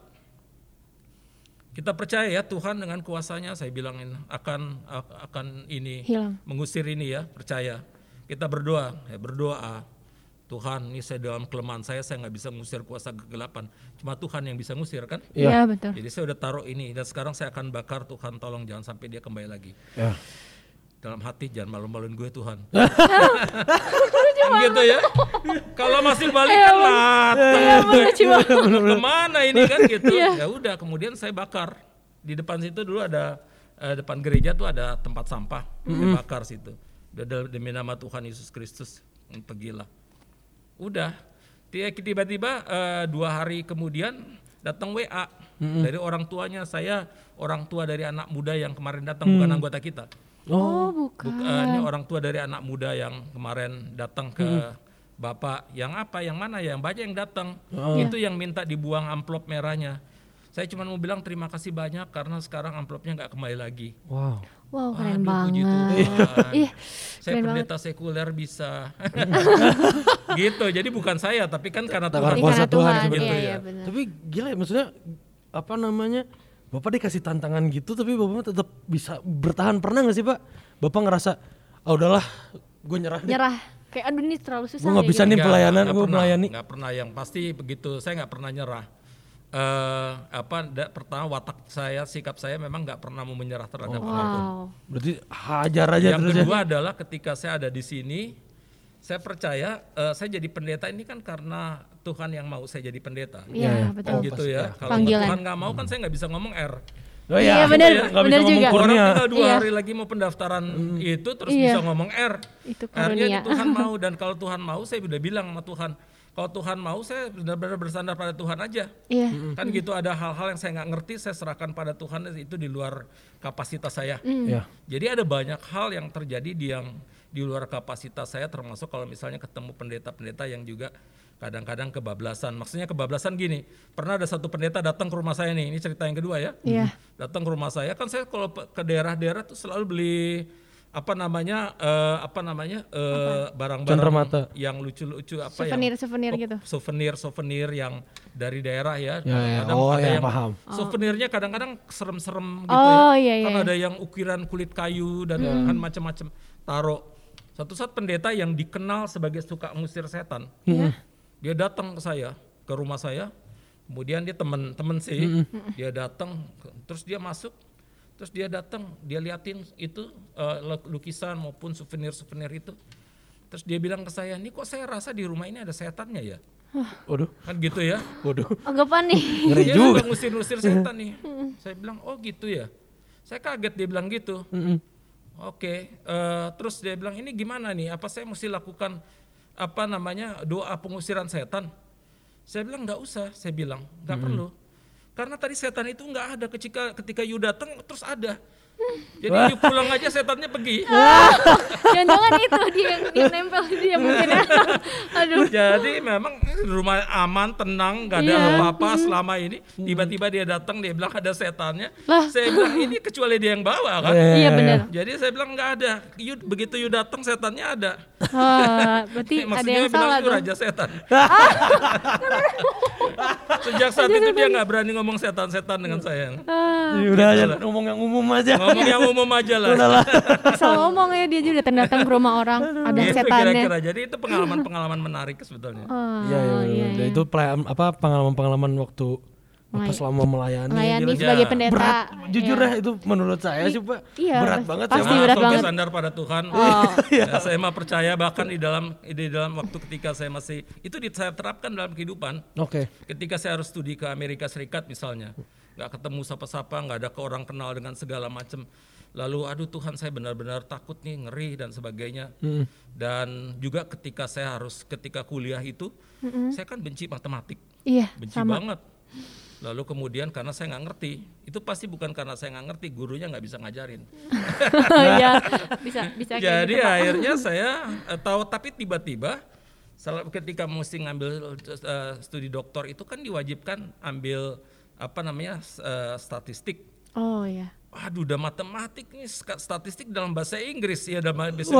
C: Kita percaya ya Tuhan dengan kuasanya saya bilangin akan akan ini
A: Hilang.
C: mengusir ini ya, percaya. Kita berdoa, ya berdoa. Tuhan, ini saya dalam kelemahan saya, saya nggak bisa mengusir kuasa kegelapan. Cuma Tuhan yang bisa ngusir kan?
A: Iya betul.
C: Jadi saya udah taruh ini dan sekarang saya akan bakar Tuhan tolong jangan sampai dia kembali lagi.
B: Ya.
C: Dalam hati jangan malu-maluin gue Tuhan. Kan gitu ya. Kalau masih balik kan lateng gue.
A: bener, Cima.
C: Kemana ini kan gitu. Ya udah kemudian saya bakar. Di depan situ dulu ada eh, depan gereja tuh ada tempat sampah. Saya bakar situ. Udah dalam- demi nama Tuhan Yesus Kristus hmm, pergilah. Udah. Ti- Tiba-tiba eh, dua hari kemudian datang WA dari orang tuanya saya orang tua dari anak muda yang kemarin datang bukan anggota kita.
A: Oh bukan.
C: Buk- eh, ini orang tua dari anak muda yang kemarin datang ke bapak. Yang apa? Yang mana? ya? Yang banyak yang datang. Itu yang minta dibuang amplop merahnya. Saya cuma mau bilang terima kasih banyak karena sekarang amplopnya nggak kembali lagi.
B: Wow.
A: Wow keren
C: Aduh, puji
A: banget. Iya.
C: Tuhan.
A: Ih
C: Saya pendeta sekuler bisa. gitu. Jadi bukan saya, tapi kan karena Tuhan.
A: ini
B: Kuasa
A: karena
B: Tuhan
A: Tuhan.
B: seperti
A: Iya
C: itu
A: iya
C: ya.
A: benar.
B: Tapi gila ya maksudnya apa namanya? Bapak dikasih tantangan gitu tapi Bapak tetap bisa bertahan. Pernah nggak sih, Pak? Bapak ngerasa ah udahlah, gue nyerah. deh.
A: Nyerah. Kayak aduh ini terlalu susah.
B: Gua nggak
A: ya,
B: bisa
A: gitu.
B: nih pelayanan,
C: nggak
B: gue
C: pernah,
B: melayani.
C: nggak pernah yang pasti begitu saya nggak pernah nyerah eh apa da- pertama watak saya sikap saya memang nggak pernah mau menyerah terhadap apapun
A: Wow.
B: Berarti hajar aja
C: yang
B: terus ya.
C: kedua adalah ketika saya ada di sini saya percaya eh, saya jadi pendeta ini kan karena Tuhan yang mau saya jadi pendeta
A: Iya
B: Iya,
A: betul.
C: kan gitu ya kalau
A: Panggilan.
C: Tuhan nggak mau kan saya nggak bisa ngomong R
B: Oh
A: Iya,
B: iya,
A: bener,
B: nggak bisa
A: bener
B: ngomong
A: juga.
B: kurnia. Hmm.
C: Orang tinggal dua
A: Iya.
C: hari lagi mau pendaftaran itu terus
A: Iya.
C: bisa ngomong R.
A: Itu
C: Artinya
A: karunia.
C: itu Tuhan mau dan kalau Tuhan mau saya udah bilang sama Tuhan. Kalau Tuhan mau saya benar-benar bersandar pada Tuhan aja.
A: Iya.
B: Hmm.
C: Kan gitu ada hal-hal yang saya nggak ngerti saya serahkan pada Tuhan itu di luar kapasitas saya.
A: Hmm.
B: Iya.
C: Jadi ada banyak hal yang terjadi di yang di luar kapasitas saya termasuk kalau misalnya ketemu pendeta-pendeta yang juga kadang-kadang kebablasan. Maksudnya kebablasan gini, pernah ada satu pendeta datang ke rumah saya nih, ini cerita yang kedua ya.
A: Iya.
C: Datang ke rumah saya kan saya kalau pe- ke daerah-daerah tuh selalu beli apa namanya eh, apa namanya eh,
B: Cendermata.
C: barang-barang yang lucu-lucu apa yang
A: Souvenir-souvenir gitu.
C: souvenir souvenir yang dari daerah ya.
B: Ya, ya.
C: Kadang
B: Oh,
C: ada
B: ya,
C: yang
B: paham.
C: Souvenirnya kadang-kadang serem-serem gitu
A: Oh,
C: ya.
A: iya,
C: Kan
A: iya. Hmm.
C: ada yang ukiran kulit kayu dan kan macam-macam taruh. Satu saat pendeta yang dikenal sebagai suka ngusir setan.
A: Iya.
C: Dia datang ke saya, ke rumah saya. Kemudian dia temen-temen sih, dia datang terus dia masuk Terus dia datang, dia liatin itu eh, lu- lukisan maupun souvenir-souvenir itu. Terus dia bilang ke saya, "Ini kok saya rasa di rumah ini ada setannya ya?"
B: Waduh,
C: Kan gitu ya.
B: waduh.
A: Anggapan nih.
B: Ngeri
C: dia
B: juga.
C: juga ngusir-ngusir setan nih. saya bilang, oh gitu ya. Saya kaget dia bilang gitu.
B: Hmm. Iya,
C: Oke, eh, terus dia bilang ini gimana nih? Apa saya mesti lakukan apa namanya doa pengusiran setan? Saya bilang nggak usah. Saya bilang nggak
B: Hmm.
C: perlu. Karena tadi setan itu nggak ada ketika ketika you datang terus ada. Jadi you pulang aja setannya pergi.
A: Jangan-jangan itu dia yang dia nempel di dia mungkin. ya. Aduh.
C: Jadi memang rumah aman, tenang, nggak ada
A: Iya.
C: apa-apa selama ini. Tiba-tiba dia datang, dia bilang ada setannya.
A: Lah.
C: Saya bilang ini kecuali dia yang bawa kan.
A: Iya benar.
C: Jadi saya bilang nggak ada. You- begitu you datang setannya ada.
A: Ah, berarti ada
C: Eh, Maksudnya
A: yang
C: bilang
A: salah Ah.
C: itu
A: tuh.
C: raja setan. Sejak saat itu dia nggak berani ngomong setan-setan dengan saya.
B: Ya udah aja ngomong yang umum aja.
C: Iya, Ngomong yang umum aja lah.
A: Asal ngomong ya dia juga datang datang ke rumah orang ada
C: Gitu
A: setannya.
C: kira-kira. Jadi itu pengalaman-pengalaman menarik sebetulnya.
A: Ah,
B: Iya, iya, bener-bener. Dan Itu pelayan- apa pengalaman-pengalaman waktu Bapak
A: Melay-
B: selama melayani,
A: melayani sebagai
B: gila.
C: Iya, Berat,
A: pendeta.
B: berat jujur
A: Iya.
B: deh itu menurut saya sih pak
A: iya,
B: berat
A: pas-
B: banget sih,
A: pasti
B: Pak.
A: berat
C: Langsung
A: banget.
C: bersandar pada Tuhan.
A: Oh.
C: Ya, saya mah percaya bahkan di dalam di dalam waktu ketika saya masih itu di- saya terapkan dalam kehidupan.
B: oke
C: Ketika saya harus studi ke Amerika Serikat misalnya, nggak ketemu siapa-siapa, nggak ada ke orang kenal dengan segala macam. Lalu aduh Tuhan saya benar-benar takut nih ngeri dan sebagainya. Dan juga ketika saya harus ketika kuliah itu, saya kan benci matematik
A: Iya,
C: benci
A: sama.
C: banget. Lalu kemudian karena saya nggak ngerti, itu pasti bukan karena saya nggak ngerti, gurunya nggak bisa ngajarin.
A: Iya, bisa bisa kayak
C: Jadi ya-
A: gitu, Pak.
C: akhirnya saya eh, tahu, tapi tiba-tiba salah- ketika mesti ngambil eh, studi doktor itu kan diwajibkan ambil apa namanya s- eh, statistik.
A: Oh iya.
C: Aduh, udah matematik nih ska- statistik dalam bahasa Inggris ya dalam bahasa,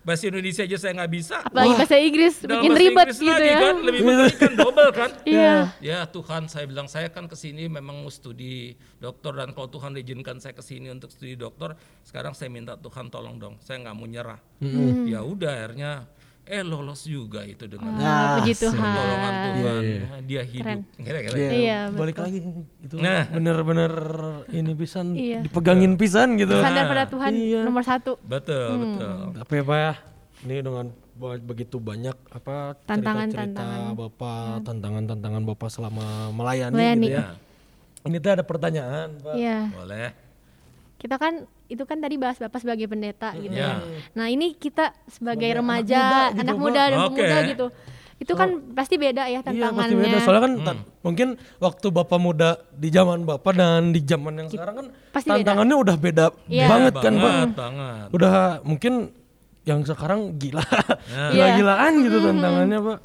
C: bahasa Indonesia aja saya nggak bisa.
A: Apalagi bahasa Inggris
C: Dalam
A: bikin
C: bahasa
A: ribet
C: Inggris
A: gitu
C: lagi
A: ya.
C: kan, lebih mengerikan double kan.
A: Iya.
C: Ya Tuhan, saya bilang saya kan kesini memang mau studi dokter dan kalau Tuhan izinkan saya kesini untuk studi dokter, sekarang saya minta Tuhan tolong dong, saya nggak mau nyerah.
B: Mm-hmm.
C: Ya udah akhirnya, eh lolos juga itu dengan
A: Ah, puji Tuhan.
C: pertolongan Tuhan, Nah, dia hidup. Kira-kira.
B: Iya,
A: Iya,
B: balik lagi itu
C: Nah.
B: bener-bener ini pisan
A: Iya.
B: dipegangin pisan gitu
A: Sandar
C: Nah,
A: pada Tuhan
B: Iya.
A: nomor satu.
C: Betul,
B: Hmm.
C: betul.
B: tapi apa ya ini dengan ba- begitu banyak apa cerita-cerita
A: Tantangan-tantangan. Hmm.
B: bapak tantangan-tantangan bapak selama melayani,
A: Melayani.
C: Iya.
B: gitu ya ini tuh ada pertanyaan pak
A: Iya.
C: Boleh.
A: Kita kan itu kan tadi bahas Bapak sebagai pendeta gitu kan.
C: Iya.
A: Nah, ini kita sebagai
B: muda
A: remaja,
B: gitu,
A: anak
B: Pak.
A: muda, dan
C: Oke.
A: pemuda gitu. Itu kan pasti beda ya
B: Iya
A: tantangannya.
B: pasti beda soalnya kan
A: Hmm.
B: ta- mungkin waktu bapak muda di zaman bapak dan di zaman yang sekarang kan
A: Pasti beda.
B: tantangannya udah beda
A: Iya.
B: banget kan pak
C: Banget, banget.
B: udah mungkin yang sekarang gila
A: Iya.
B: gila-gilaan gitu tantangannya pak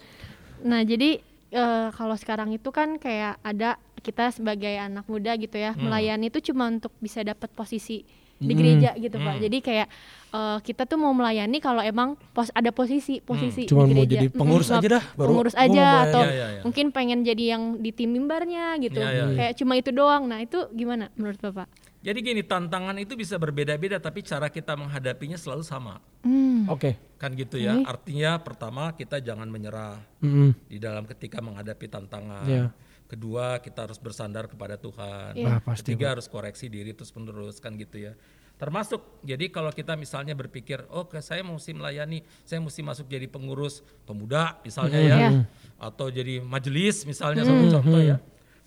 A: Nah, jadi eh, kalau sekarang itu kan kayak ada kita sebagai anak muda gitu ya,
B: Hmm.
A: melayani itu cuma untuk bisa dapat posisi di gereja gitu,
B: Hmm.
A: Pak. Jadi kayak eh, kita tuh mau melayani kalau emang pos ada posisi, posisi di
B: Hmm. Cuman mau
A: gereja.
B: jadi
A: Mm-mm,
B: pengurus
A: cuma
B: aja dah, baru
A: Pengurus
B: gua mau Ya,
A: aja
B: melayani.
A: atau
C: Iya, iya, iya.
A: mungkin pengen jadi yang di tim mimbarnya gitu.
B: Ya,
C: Iya, iya, iya.
A: Kayak cuma itu doang. Nah, itu gimana menurut Bapak?
C: Jadi gini, tantangan itu bisa berbeda-beda, tapi cara kita menghadapinya selalu sama.
A: Hmm.
B: oke
C: Kan gitu ya.
B: Iya.
C: Artinya pertama kita jangan menyerah.
B: Mm-mm.
C: di dalam ketika menghadapi tantangan.
B: Iya.
C: Kedua, kita harus bersandar kepada Tuhan.
B: Iya. Ah, pasti,
C: Ketiga, harus koreksi diri terus-menerus kan gitu ya. Termasuk jadi kalau kita misalnya berpikir, "Oh, ke- saya mesti melayani, saya mesti masuk jadi pengurus pemuda misalnya
B: Hmm.
C: ya,
A: Iya.
C: atau jadi majelis misalnya sebagai contoh ya,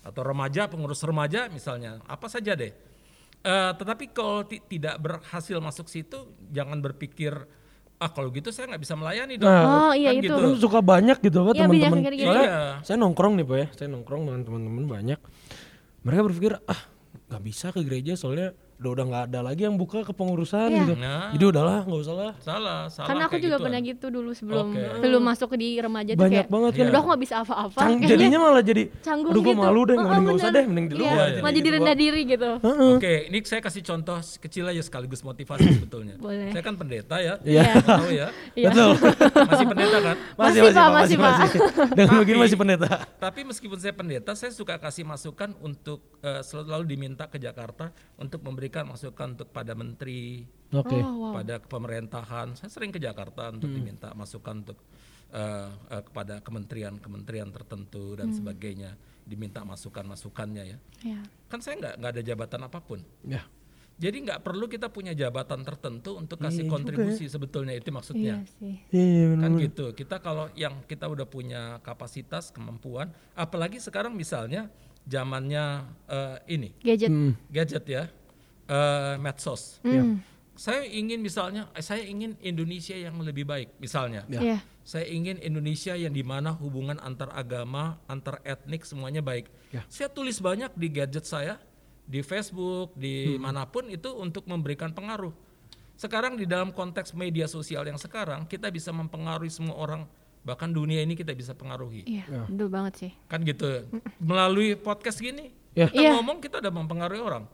C: atau remaja, pengurus remaja misalnya, apa saja deh." Eh, tetapi kalau ti- tidak berhasil masuk situ, jangan berpikir, "Ah, kalau gitu saya nggak bisa melayani dong."
A: Oh, iya
C: Kan
A: itu.
C: gitu.
B: Kan suka banyak gitu pak
A: Iya,
B: teman-teman.
A: banyak kayak gitu.
B: Soalnya
C: Iya.
B: saya nongkrong nih pak ya, saya nongkrong dengan teman-teman banyak. Mereka berpikir ah nggak bisa ke gereja soalnya udah udah nggak ada lagi yang buka kepengurusan
A: Iya.
B: gitu.
C: Nah.
B: Jadi udahlah nggak usah lah.
C: Salah, salah.
A: Karena aku
C: kayak kan.
A: juga
C: gituan.
A: pernah gitu dulu sebelum
C: Oke.
A: sebelum masuk di remaja tuh
B: kan? Banyak
A: kayak
B: banget kan.
A: udah aku gak bisa apa-apa.
B: Cang-
A: kayaknya
B: jadinya malah jadi,
A: canggung
B: aduh gue
A: gitu.
B: malu deh,
A: Heeh,
B: mending nggak usah
A: bener.
B: deh, mending di
A: Iya,
B: luar. jadi
A: malah
B: di
A: jadi
B: luar.
A: rendah diri gitu.
C: Oke, ini saya kasih contoh kecil aja sekaligus motivasi sebetulnya.
A: Boleh.
C: Saya kan pendeta ya.
B: Iya.
C: Tahu ya.
A: Iya.
B: Betul.
C: Masih pendeta kan?
A: Masih, Pak, masih, Pak.
B: Dengan begini
C: Tapi-
B: masih pendeta.
C: Tapi meskipun saya pendeta, saya suka kasih masukan untuk eh, selalu diminta ke Jakarta untuk memberikan masukan untuk pada menteri,
B: Oke.
A: Oh, wow. Mm.
C: pada pemerintahan. Saya sering ke Jakarta untuk diminta masukan untuk eh, eh, kepada kementerian-kementerian tertentu
A: Mm.
C: dan sebagainya, diminta masukan-masukannya ya.
A: Iya.
C: Kan saya nggak nggak ada jabatan apapun.
B: Ya.
C: Jadi nggak perlu kita punya jabatan tertentu untuk kasih kontribusi sebetulnya itu
A: Iya
C: maksudnya.
A: sih.
B: Iya, bener.
C: Kan gitu. Kita kalau yang kita udah punya kapasitas, kemampuan, apalagi sekarang misalnya zamannya eh, ini
A: Gadget.
C: gadget ya. eh, medsos.
A: Mm.
C: Saya ingin misalnya eh, saya ingin Indonesia yang lebih baik misalnya.
A: Iya.
C: Saya ingin Indonesia yang dimana hubungan antar agama, antar etnik semuanya baik.
B: Ya.
C: Saya tulis banyak di gadget saya, di Facebook, di
B: Hmm.
C: manapun itu untuk memberikan pengaruh. Sekarang di dalam konteks media sosial yang sekarang kita bisa mempengaruhi semua orang, bahkan dunia ini kita bisa pengaruhi.
A: Iya. Betul banget sih.
C: Kan gitu. Melalui podcast gini,
B: Ya.
C: kita
A: Iya.
C: ngomong kita udah mempengaruhi orang.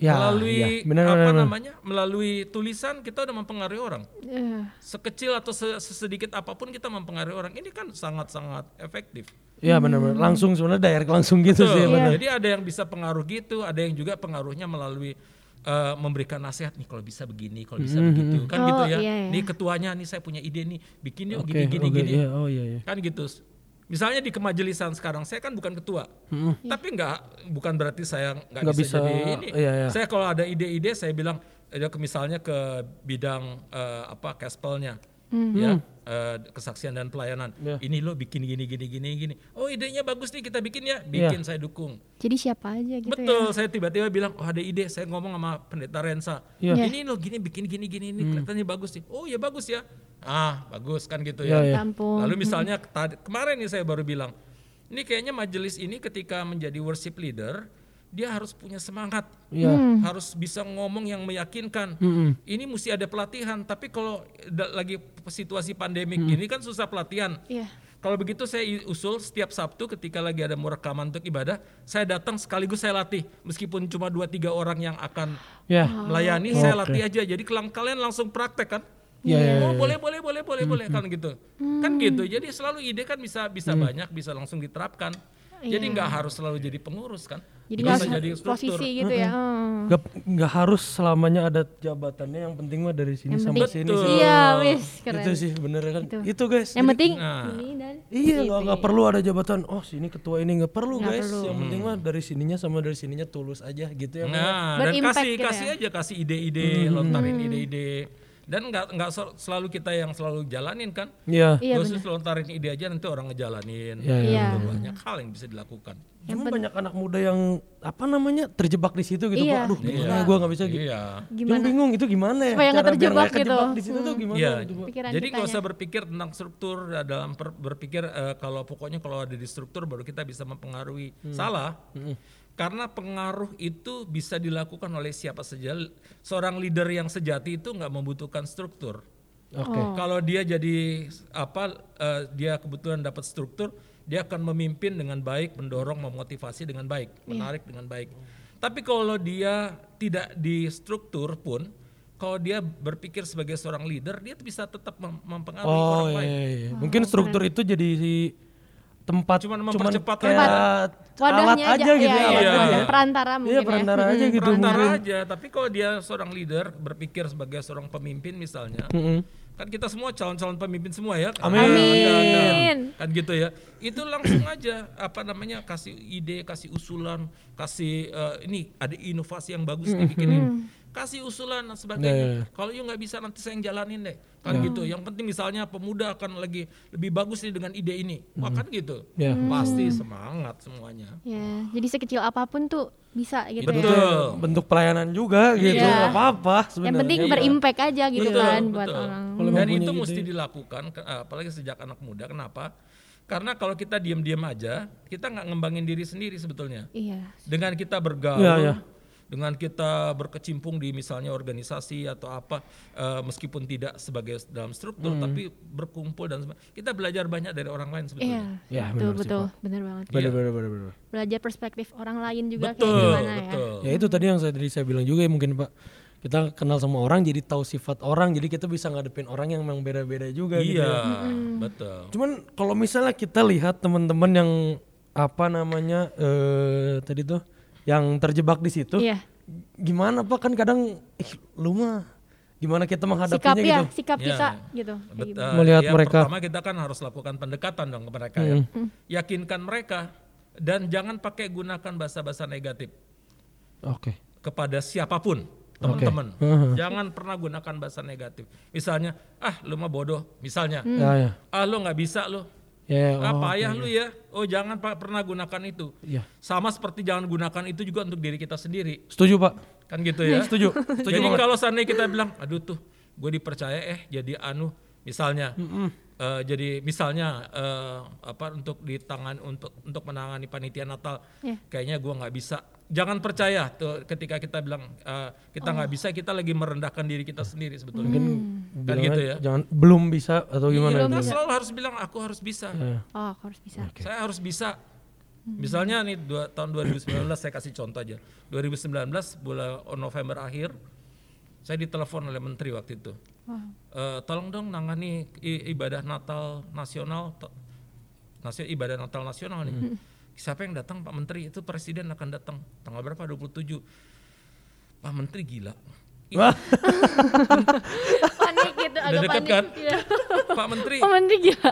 B: Ya, ya.
C: melalui
B: Bener,
C: apa
B: bener, bener.
C: namanya? Melalui tulisan kita udah mempengaruhi orang
A: Iya.
C: sekecil atau se- sesedikit apapun kita mempengaruhi orang ini kan sangat-sangat efektif.
B: Iya benar-benar langsung sebenarnya direct langsung gitu sih
C: Betul.
B: benar.
C: Jadi ada yang bisa pengaruh gitu, ada yang juga pengaruhnya melalui eh, memberikan nasihat nih kalau bisa begini, kalau
B: Mhm.
C: bisa begitu, kan
A: Oh,
C: gitu ya.
A: iya, iya.
C: Nih ketuanya nih saya punya ide nih, bikin yuk
B: Oke,
C: gini gini
B: oke,
C: gini.
B: iya, oh iya iya.
C: Kan gitu. Misalnya di kemajelisan sekarang saya kan bukan ketua, tapi nggak bukan berarti saya nggak
B: Nggak
C: bisa,
B: bisa,
C: jadi ini.
B: iya, iya.
C: Saya kalau ada ide-ide saya bilang ada ke misalnya ke bidang eh, apa caspelnya, ya eh, kesaksian dan pelayanan.
B: Hmm. Iya.
C: Ini lo bikin gini gini gini gini. Oh idenya bagus nih kita bikin
B: Iya.
C: ya, bikin saya dukung.
A: Jadi siapa aja gitu ya.
C: Betul, saya tiba-tiba bilang, oh ada ide, saya ngomong sama pendeta Rensa,
B: Iya. Hmm.
C: ini lo gini bikin gini gini ini kelihatannya bagus sih. Oh ya bagus ya, ah bagus kan gitu
B: Iya,
C: ya.
B: iya.
A: Ya ampun.
C: Lalu misalnya tadi- kemarin nih saya baru bilang, ini kayaknya majelis ini ketika menjadi worship leader, dia harus punya semangat,
A: Hmm.
B: Iya. Hmm.
C: harus bisa ngomong yang meyakinkan. Ini mesti ada pelatihan, tapi kalau da- lagi situasi pandemik
B: Hmm.
C: ini kan susah pelatihan.
A: Iya.
C: Kalau begitu saya i- usul setiap Sabtu ketika lagi ada mau rekaman untuk ibadah, saya datang sekaligus saya latih meskipun cuma 2 3 orang yang akan
B: Ya.
C: melayani,
A: Oh,
C: saya latih aja. Jadi kelang kalian langsung praktek kan?
B: Iya, iya,
C: Oh, boleh boleh boleh boleh boleh
A: Hmm.
C: kan gitu. Kan gitu. Jadi selalu ide kan bisa bisa banyak, bisa langsung diterapkan. Jadi nggak harus selalu jadi pengurus kan?
A: Iya. Jadi
C: Bisa
A: nggak
C: jadi
A: harus
C: struktur.
A: posisi gitu ya. heeh.
B: Nggak nggak harus selamanya ada jabatannya yang penting mah dari sini
A: Yang
B: sampai
A: penting
B: sini.
C: Betul.
A: Iya, wis keren.
B: Itu sih bener kan. Itu, guys.
A: Yang
B: Jadi-
A: penting
C: Nah.
A: ini dan
B: Iya nggak nggak perlu ada jabatan. Oh sini ketua ini nggak perlu
A: Nggak
B: guys.
A: perlu.
B: Yang penting mah dari sininya sama dari sininya tulus aja gitu ya. Bang.
C: Nah, dan
A: Berimpact
C: kasih
A: gitu
C: kasih
A: ya? Hmm.
C: aja kasih ide-ide, lontarin ide-ide. Dan nggak nggak sel- selalu kita yang selalu jalanin kan?
B: Iya.
A: Iya
C: Terus
A: benar.
C: lontarin ide aja nanti orang ngejalanin.
B: Iya, iya,
A: Iya.
C: Gitu, Banyak hal yang bisa dilakukan.
B: Cuma banyak anak muda yang apa namanya terjebak di situ gitu.
A: Iya.
B: Pak. Aduh, gimana gue nggak bisa gitu.
C: Iya.
B: Yang bingung itu gimana ya?
A: Supaya nggak
B: Cara biar nggak
A: terjebak gitu.
B: kejebak Di situ tuh gimana?
C: Iya.
B: Coba.
A: Pikiran
C: Jadi nggak
A: kitanya.
C: usah berpikir tentang struktur ya, dalam per- berpikir eh, kalau pokoknya kalau ada di struktur baru kita bisa mempengaruhi. Salah. Karena pengaruh itu bisa dilakukan oleh siapa saja. Seorang leader yang sejati itu nggak membutuhkan struktur.
B: Oke.
C: Kalau dia jadi apa eh, dia kebetulan dapat struktur, dia akan memimpin dengan baik, mendorong, memotivasi dengan baik, menarik dengan baik. Tapi kalau dia tidak di struktur pun, kalau dia berpikir sebagai seorang leader, dia bisa tetap mem- mempengaruhi
B: Oh
C: orang
B: iya,
C: lain.
B: iya,
A: Hmm,
B: iya. Mungkin struktur itu jadi si tempat
C: Cuman
B: cuman
C: mempercepat
B: kayak alat
A: wadahnya
B: aja,
A: aja,
B: gitu
A: iya,
B: ya.
A: iya,
B: alatnya.
A: iya. perantara mungkin
B: Iya
A: ya.
B: perantara aja gitu.
C: Perantara aja, tapi kalau dia seorang leader berpikir sebagai seorang pemimpin misalnya, kan kita semua calon-calon pemimpin semua ya.
B: Amin.
C: Anda- Anda-
A: Amin.
C: kan gitu ya. Itu langsung aja apa namanya kasih ide, kasih usulan, kasih eh, ini ada inovasi yang bagus nih bikin ini. Kasih usulan dan sebagainya.
B: Iya, iya,
C: Kalau you nggak bisa nanti saya yang jalanin deh. Kan gitu. Yang penting misalnya pemuda akan lagi lebih bagus nih dengan ide ini. Wah kan gitu.
B: Iya.
C: Pasti semangat semuanya.
A: Ya, jadi sekecil apapun tuh bisa gitu
C: Betul.
A: ya.
B: Bentuk pelayanan juga gitu.
A: Iya.
B: nggak apa-apa
A: Yang
B: sebenarnya. iya.
A: penting berimpact aja gitu
C: Betul,
A: kan buat
C: betul.
A: orang.
C: Dan itu mesti dilakukan ke- eh, apalagi sejak anak muda. Kenapa? Karena kalau kita diam-diam aja, kita nggak ngembangin diri sendiri sebetulnya.
A: Iya.
C: Dengan kita bergaul,
B: Iya, iya.
C: dengan kita berkecimpung di misalnya organisasi atau apa, eh, meskipun tidak sebagai dalam struktur, tapi berkumpul dan seba- kita belajar banyak dari orang lain
A: Iya.
C: sebetulnya.
B: Ya,
A: betul betul, benar banget.
C: Iya.
B: Bener, bener, bener, bener.
A: Belajar perspektif orang lain juga
C: Betul,
A: kayak gimana ya.
C: betul.
B: Ya itu tadi yang saya tadi saya bilang juga ya mungkin Pak. Kita kenal sama orang jadi tahu sifat orang jadi kita bisa ngadepin orang yang memang beda-beda juga gitu.
C: Iya, betul.
B: Cuman kalau misalnya kita lihat teman-teman yang apa namanya eh tadi tuh yang terjebak di situ,
A: Iya.
B: gimana pak kan kadang ih, lu mah gimana kita
A: Sikap
B: menghadapinya
A: ya,
B: gitu?
A: sikap
C: Iya.
A: kita gitu. Kayak
C: Bet-
A: gimana.
C: eh,
B: Melihat
C: ya,
B: mereka. Hmm.
C: Pertama kita kan harus lakukan pendekatan dong ke mereka ya. Yakinkan mereka dan jangan pakai gunakan bahasa-bahasa negatif
B: Oke.
C: kepada siapapun teman-teman.
B: Uh-huh.
C: Jangan pernah gunakan bahasa negatif. Misalnya, ah lu mah bodoh. Misalnya,
A: Hmm.
B: Ya ya.
C: ah lu nggak bisa lu.
B: Ya,
C: Ah
B: oh,
C: payah lu ya. Oh jangan pa- pernah gunakan itu.
B: Iya.
C: Sama seperti jangan gunakan itu juga untuk diri kita sendiri.
B: Setuju pak.
C: Kan gitu ya.
B: Setuju. Setuju
C: Jadi
B: banget.
C: kalau seandainya kita bilang, aduh tuh, gue dipercaya eh jadi anu, misalnya, eh, jadi misalnya eh, apa untuk di tangan untuk untuk menangani panitia Natal,
A: Iya.
C: kayaknya gue nggak bisa. Jangan percaya tuh ketika kita bilang eh, kita nggak bisa, kita lagi merendahkan diri kita sendiri sebetulnya. Kan
B: Bilangan
C: gitu ya.
B: Jangan belum bisa atau
A: Iya,
B: gimana? Iya. Eh.
C: Kita selalu harus bilang aku harus bisa.
A: Oh, aku harus bisa.
C: Saya harus bisa. Misalnya nih dua, tahun 2019 saya kasih contoh aja. 2019 bulan November akhir saya ditelepon oleh menteri waktu itu. Eh, tolong dong nangani i- ibadah Natal nasional to- nasio- ibadah Natal nasional nih. Siapa yang datang Pak Menteri? Itu presiden akan datang tanggal berapa? 27. Pak Menteri gila.
B: Wah,
A: Panik gitu,
C: Udah
A: ada
C: deket
A: panik.
C: kan?
A: Iya.
C: Pak Menteri,
B: Oh,
A: Pak Menteri gila.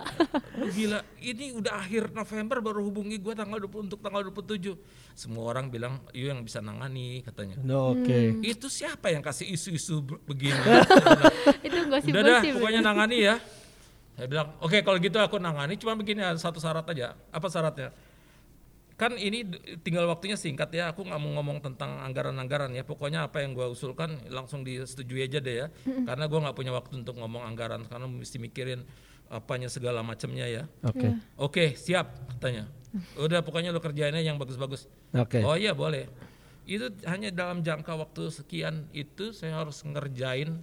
C: gila ini udah akhir November baru hubungi gue tanggal 20 untuk tanggal 27 semua orang bilang you yang bisa nangani katanya
A: Hmm,
B: No, Oke.
A: iya.
C: itu siapa yang kasih isu-isu be- begini
A: Itu gosip-gosip.
C: udah dah
A: ya.
C: pokoknya nangani ya saya bilang oke kalau gitu aku nangani cuma begini ada satu syarat aja apa syaratnya kan ini d- tinggal waktunya singkat ya aku nggak mau ngomong tentang anggaran-anggaran ya pokoknya apa yang gue usulkan langsung disetujui aja deh ya karena gue nggak punya waktu untuk ngomong anggaran karena mesti mikirin apanya segala macamnya ya
B: Oke.
C: Oke, siap katanya. Udah pokoknya lo kerjainnya yang bagus-bagus.
B: Oke.
C: Oh iya boleh. Itu hanya dalam jangka waktu sekian itu saya harus ngerjain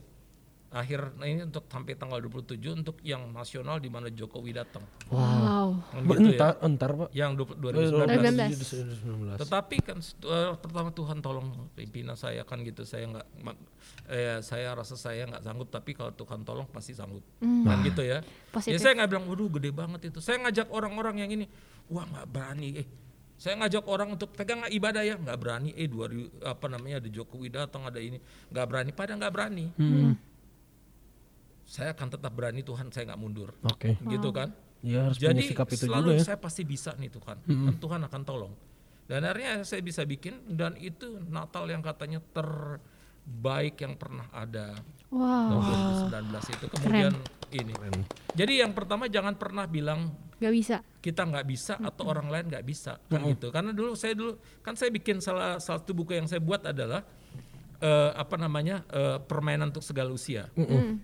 C: akhir nah ini untuk sampai tanggal 27 untuk yang nasional di mana Jokowi datang.
A: Wow.
C: Kan
B: Ba-
C: gitu ya.
B: Entar, entar pak. Iya,
C: Yang du-
A: 2019.
B: 2019.
C: 2019. Tetapi kan setu- eh, pertama Tuhan tolong pimpinan saya kan gitu saya nggak ma- eh, saya rasa saya nggak sanggup tapi kalau Tuhan tolong pasti sanggup kan gitu ya.
A: Positif.
C: Jadi saya nggak bilang waduh gede banget itu. Saya ngajak orang-orang yang ini wah nggak berani eh. Saya ngajak orang untuk pegang nggak ibadah ya nggak berani eh dua ribu- apa namanya ada Jokowi datang ada ini nggak berani pada nggak berani. Saya akan tetap berani Tuhan saya nggak mundur
B: Oke.
C: gitu kan.
B: Ya harus punya
C: Jadi
B: sikap itu juga
C: selalu
B: ya.
C: saya pasti bisa nih Tuhan, Dan Tuhan akan tolong. Dan akhirnya saya bisa bikin dan itu Natal yang katanya terbaik yang pernah ada
A: Wow.
C: tahun 2019 itu. Kemudian ini. Jadi yang pertama jangan pernah bilang
A: Gak bisa.
C: kita nggak bisa atau orang lain nggak bisa kan gitu. Karena dulu saya dulu kan saya bikin salah satu buku yang saya buat adalah eh, apa namanya eh, permainan untuk segala usia.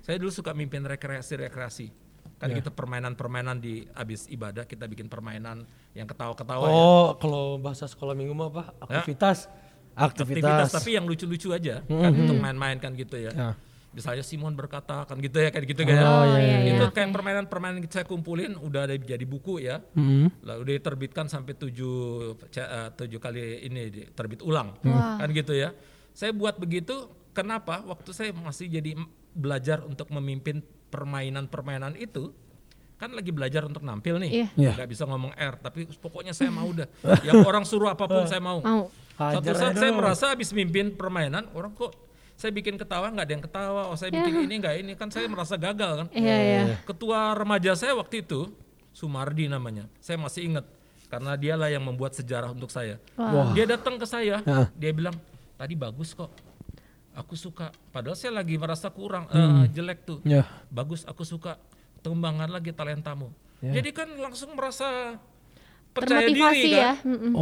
C: Saya dulu suka mimpin rekreasi-rekreasi. Kan gitu permainan-permainan di abis ibadah kita bikin permainan yang ketawa-ketawa ya.
B: Oh, kalau bahasa sekolah minggu mah apa? Aktivitas. Aktivitas.
C: aktivitas tapi yang lucu-lucu aja kan untuk main-main kan gitu ya.
B: Ya.
C: Misalnya Simon berkata kan gitu ya kayak gitu kayak
A: iya, iya,
C: itu
A: oke.
C: kayak permainan-permainan yang saya kumpulin udah ada jadi buku ya.
B: Mm-hmm.
C: Lalu diterbitkan sampai tujuh ca- eh, tujuh kali ini di- terbit ulang
A: Hmm.
C: kan gitu ya. Saya buat begitu kenapa waktu saya masih jadi m- belajar untuk memimpin permainan-permainan itu kan lagi belajar untuk nampil nih
A: Iya.
B: Iya.
C: nggak bisa ngomong R tapi pokoknya saya mau dah yang orang suruh apapun saya mau
A: Mau.
B: Hajar
C: satu
B: aja
C: saat saya
B: dulu.
C: merasa habis mimpin permainan orang kok saya bikin ketawa nggak ada yang ketawa, oh saya bikin ini nggak ini kan saya merasa gagal kan.
A: Iya, iya.
C: Ketua remaja saya waktu itu Sumardi namanya, saya masih ingat karena dialah yang membuat sejarah untuk saya. Dia datang ke saya,
B: Heeh.
C: dia bilang tadi bagus kok, aku suka. Padahal saya lagi merasa kurang eh,
A: Hmm.
C: jelek tuh
B: Ya.
C: bagus aku suka kembangan lagi talentamu jadi kan langsung merasa percaya
A: Iya. Termotivasi
C: diri
A: ya. Iya.
C: kan
A: Mm-mm.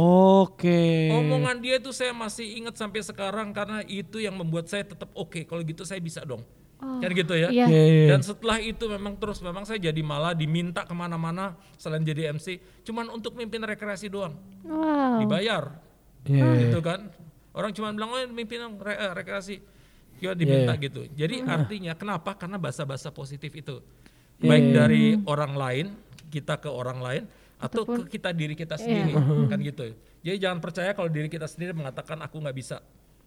B: Oke.
C: omongan dia itu saya masih ingat sampai sekarang karena itu yang membuat saya tetap oke kalau gitu saya bisa dong kan gitu ya
A: Iya.
B: Iya, iya.
C: dan setelah itu memang terus memang saya jadi malah diminta kemana-mana selain jadi MC cuman untuk mimpin rekreasi doang
A: Wow.
C: dibayar
B: Iya.
C: gitu kan orang cuma bilang oh mimpin dong, re- eh, rekreasi ya
B: Iya,
C: diminta gitu jadi artinya kenapa karena bahasa-bahasa positif itu
B: Iya,
C: baik dari orang lain kita ke orang lain atau ke kita diri kita sendiri
B: Iya.
C: kan gitu jadi jangan percaya kalau diri kita sendiri mengatakan aku nggak bisa